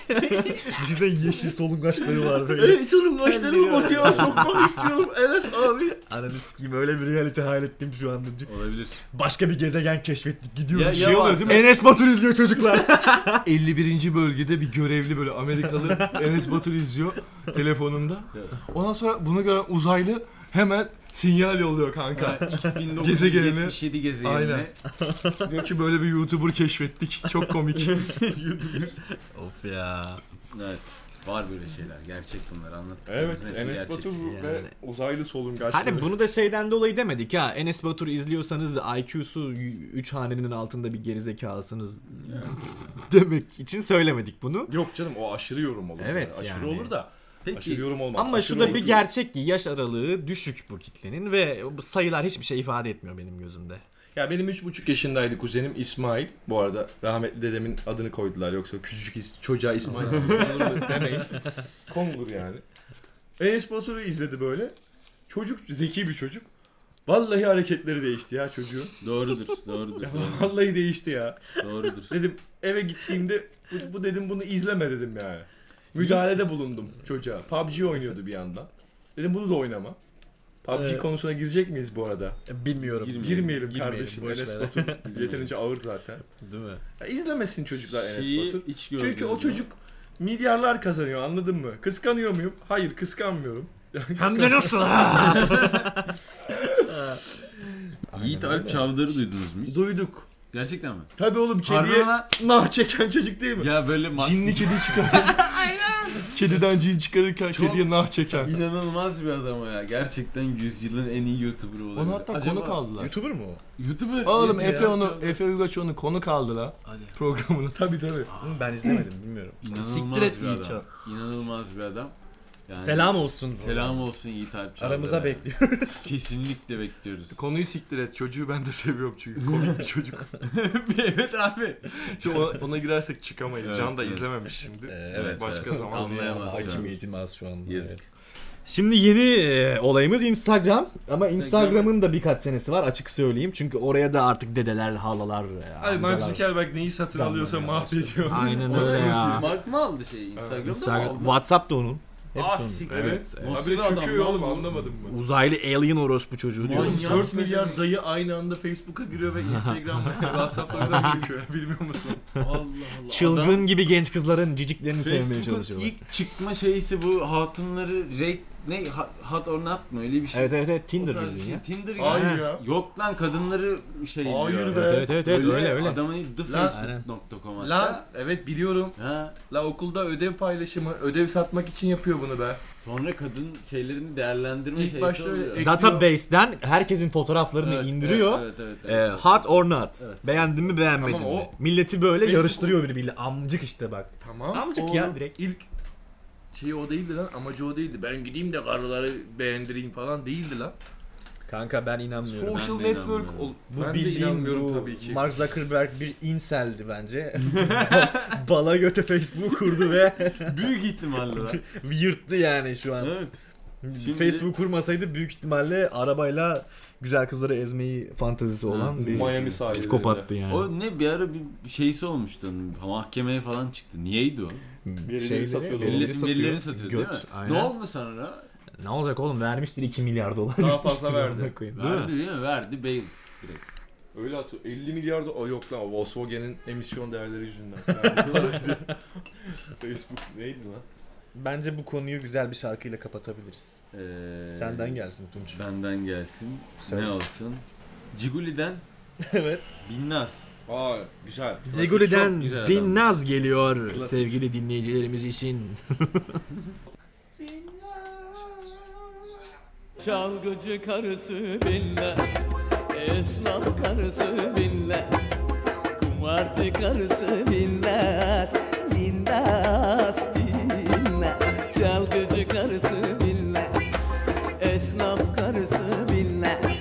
A: Bize yeşil solungaçları var böyle.
C: Evet oğlum başlarımı motiva sokmak istiyorum Enes abi.
A: Ananı sikeyim öyle bir realite hayal ettim şu anda.
B: Olabilir.
A: Başka bir gezegen keşfettik gidiyoruz.
B: Ya- ya Şey oluyor varsa-
A: mi? Enes Batur izliyor çocuklar.
C: 51. bölgede bir görevli böyle Amerikalı Enes Batur izliyor telefonunda. Ondan sonra bunu gören uzaylı hemen sinyal yolluyor kanka. Gezegenini-
B: 1977 gezegenine.
C: Aynen. Diyor ki böyle bir YouTuber keşfettik. Çok komik.
A: of ya.
B: Evet. Var böyle şeyler. Gerçek bunlar. Anlat.
I: Evet,
B: Hepsi
I: Enes
B: gerçek.
I: Batur ve
A: Yani.
I: uzaylı solungaçları.
A: Hani bunu da şeyden dolayı demedik ha. Enes Batur izliyorsanız IQ'su 3 hanenin altında bir gerizekalısınız demek için söylemedik bunu.
I: Yok canım o aşırı yorum olur.
A: Evet,
I: Aşırı
A: yani.
I: olur da
C: Aşırı yorum olmaz.
A: Ama
C: Aşırı
A: şu da
C: yorum-
A: bir gerçek ki yaş aralığı düşük bu kitlenin ve bu sayılar hiçbir şey ifade etmiyor benim gözümde.
C: Ya benim 3,5 yaşındaydı kuzenim İsmail. Bu arada rahmetli dedemin adını koydular yoksa küçücük is- çocuğa İsmail olur demeyin. Kongur yani. Enes Batur'u izledi böyle. Çocuk zeki bir çocuk. Vallahi hareketleri değişti ya çocuğun.
B: Doğrudur, doğrudur,
C: Vallahi değişti ya.
B: doğrudur.
C: Dedim eve gittiğimde bu, bu dedim bunu izleme dedim yani. Müdahalede bulundum çocuğa. PUBG oynuyordu bir yandan. Dedim bunu da oynama. PUBG
A: Ee,
C: konusuna girecek miyiz bu arada?
A: Bilmiyorum.
C: Girmeyelim,
A: Girmeyelim,
C: kardeşim.
A: boş
C: Enes
A: ver.
C: Batur yeterince ağır zaten.
A: Değil mi?
C: Ya izlemesin çocuklar Enes Batur.
B: Şeyi iç gördünüz
C: Çünkü o
B: mü?
C: çocuk milyarlar kazanıyor anladın mı? Kıskanıyor muyum? Hayır kıskanmıyorum.
A: Hem de nasıl ha?
B: Yiğit Alp Çavdar'ı duydunuz mu hiç?
C: Duyduk.
B: Gerçekten mi?
C: Tabii oğlum
B: Harbi
C: kediye
B: mi lan?
C: nah çeken çocuk değil mi?
B: Ya böyle mas-
C: Cinli kedi çıkar. Kediden cin çıkarırken kediye nah çeken.
B: İnanılmaz bir adam o ya. Gerçekten yüzyılın en iyi YouTuber'ı olabilir.
J: Onu hatta
B: Acaba-
J: konuk aldılar.
C: YouTuber mu o?
B: YouTuber.
J: Oğlum
B: Evet ya,
J: Efe onu,
B: tabii.
J: Efe Uygaç onu konuk aldı la
B: Hadi.
J: programına.
C: Tabii tabii. Ben izlemedim bilmiyorum.
B: İnanılmaz
J: Siktir et
B: bir
J: Yiğit
B: adam. İnanılmaz bir adam. Yani
A: Selam olsun.
B: Selam olsun Yiğit Alp Çavdar'a.
A: Aramıza
B: yani.
A: bekliyor.
B: Kesinlikle bekliyoruz.
J: Konuyu siktir et. Çocuğu ben de seviyorum çünkü komik bir çocuk.
B: evet abi.
J: Şimdi ona, ona girersek çıkamayız.
B: Evet,
J: Can da
B: evet.
J: izlememiş şimdi.
C: evet,
J: Başka
C: evet.
J: zaman.
B: Anlayamaz. şu an.
A: az şu anda.
C: Yazık.
A: Şimdi yeni e, olayımız Instagram ama Instagram'ın da birkaç senesi var açık söyleyeyim. Çünkü oraya da artık dedeler, halalar, e,
C: Hayır Mark
A: amcalar.
C: Zuckerberg neyi satın alıyorsa mahvediyor.
A: Aynen
B: Ona
A: öyle ya.
B: YouTube Mark mı aldı şeyi? Instagram'da
A: Instagram,
B: mı aldı?
A: WhatsApp da onun. Hepsi
B: Ah
A: onun.
B: siktir.
C: Evet.
B: Nasıl
C: Habire
B: adam
C: çöküyor
B: lan
C: oğlum
B: bu?
C: anlamadım ben.
A: Uzaylı alien orospu çocuğu diyor.
B: Manyak.
C: 4 milyar dayı aynı anda Facebook'a giriyor ve Instagram'a ve WhatsApp'larına çöküyor. Bilmiyor musun?
B: Allah Allah.
A: Çılgın
B: Adam
A: gibi genç kızların ciciklerini sevmeye
B: Facebook'un
A: çalışıyorlar.
B: ilk çıkma şeysi bu hatunları rate ne ha- hot or not mı öyle bir şey.
A: Evet evet evet
B: O
A: Tinder
B: tarz bir
A: bizim
B: şey.
A: ya.
B: Tinder
C: Hayır
B: gibi.
C: ya.
B: Yok lan kadınları şey diyor.
C: Hayır be.
A: Evet evet evet, evet, öyle öyle.
B: Adamın thefacebook.com hatta.
C: Lan evet biliyorum.
B: Ha.
C: La okulda ödev paylaşımı, ödev satmak için yapıyor bunu be.
B: Sonra kadın şeylerini değerlendirme
C: İlk
B: şeysi
C: başta öyle
B: oluyor.
C: ek-
A: Database'den herkesin fotoğraflarını
B: Evet,
A: indiriyor.
B: Evet, evet, evet,
A: Ee,
B: evet.
A: hot or not.
B: Evet.
A: Beğendin mi beğenmedin
C: Ama o
A: mi? Milleti böyle
C: Facebook-
A: yarıştırıyor birbiriyle. Amcık işte bak.
C: Tamam.
A: Amcık ya direkt.
C: İlk şeyi şey o değildi lan, amacı o değildi. Ben gideyim de karıları beğendireyim falan değildi lan.
A: Kanka ben inanmıyorum.
C: Social
B: ben de
C: network
B: inanmıyorum.
C: ol.
A: Bu
C: ben de
A: bildiğin
C: inanmıyorum
A: bu
C: tabii ki.
A: Mark Zuckerberg bir inseldi bence. Bala göte Facebook kurdu ve
B: Büyük ihtimalle lan.
A: yırttı yani şu an.
B: evet. Şimdi-
A: Facebook kurmasaydı büyük ihtimalle arabayla güzel kızları ezmeyi fantezisi olan
B: Evet.
A: bir
C: Miami sahilinde.
A: psikopattı yani.
B: O ne bir ara bir şeysi olmuştu. onun, Mahkemeye falan çıktı. Niyeydi o?
C: Birileri
A: Hmm. Şeyleri-
C: satıyordu.
A: Birileri-
B: Milletin birilerini satıyor değil mi?
A: Göt, aynen.
B: Ne oldu sonra?
A: Ne olacak oğlum vermiştir 2 milyar dolar.
C: Daha fazla
A: Üstüne
C: verdi.
A: ona koyayım. Değil mi?
B: Verdi değil mi? Verdi bail.
C: Öyle atıyor. 50 milyar da o yok lan Volkswagen'in emisyon değerleri yüzünden. Facebook neydi lan?
A: Bence bu konuyu güzel bir şarkıyla kapatabiliriz.
B: Ee,
A: Senden gelsin Tunç.
B: Benden gelsin.
A: Söyle.
B: Ne olsun? Ciguli'den
A: evet.
B: Binnaz.
C: Aa güzel.
A: Ciguli'den
B: Çok güzel adam.
A: bin naz geliyor
C: Klasik.
A: sevgili dinleyicilerimiz için.
K: Çalgıcı karısı bilmez, esnaf karısı bilmez, kumarcı karısı bilmez, bilmez, bilmez. Çalgıcı karısı bilmez, esnaf karısı bilmez,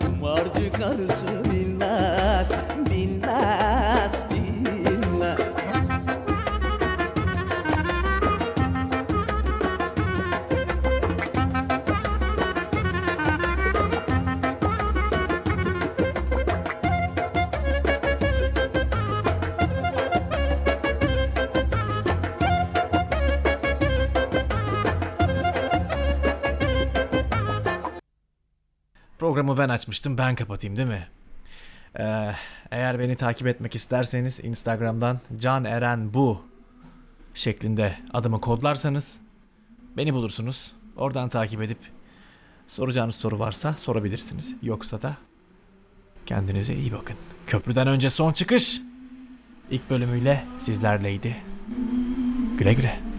K: kumarcı karısı bilmez, bilmez, bilmez.
A: Programı ben açmıştım ben kapatayım değil mi? Ee, eğer beni takip etmek isterseniz Instagram'dan Can Eren bu şeklinde adımı kodlarsanız beni bulursunuz. Oradan takip edip soracağınız soru varsa sorabilirsiniz. Yoksa da kendinize iyi bakın. Köprüden önce son çıkış ilk bölümüyle sizlerleydi. Güle güle.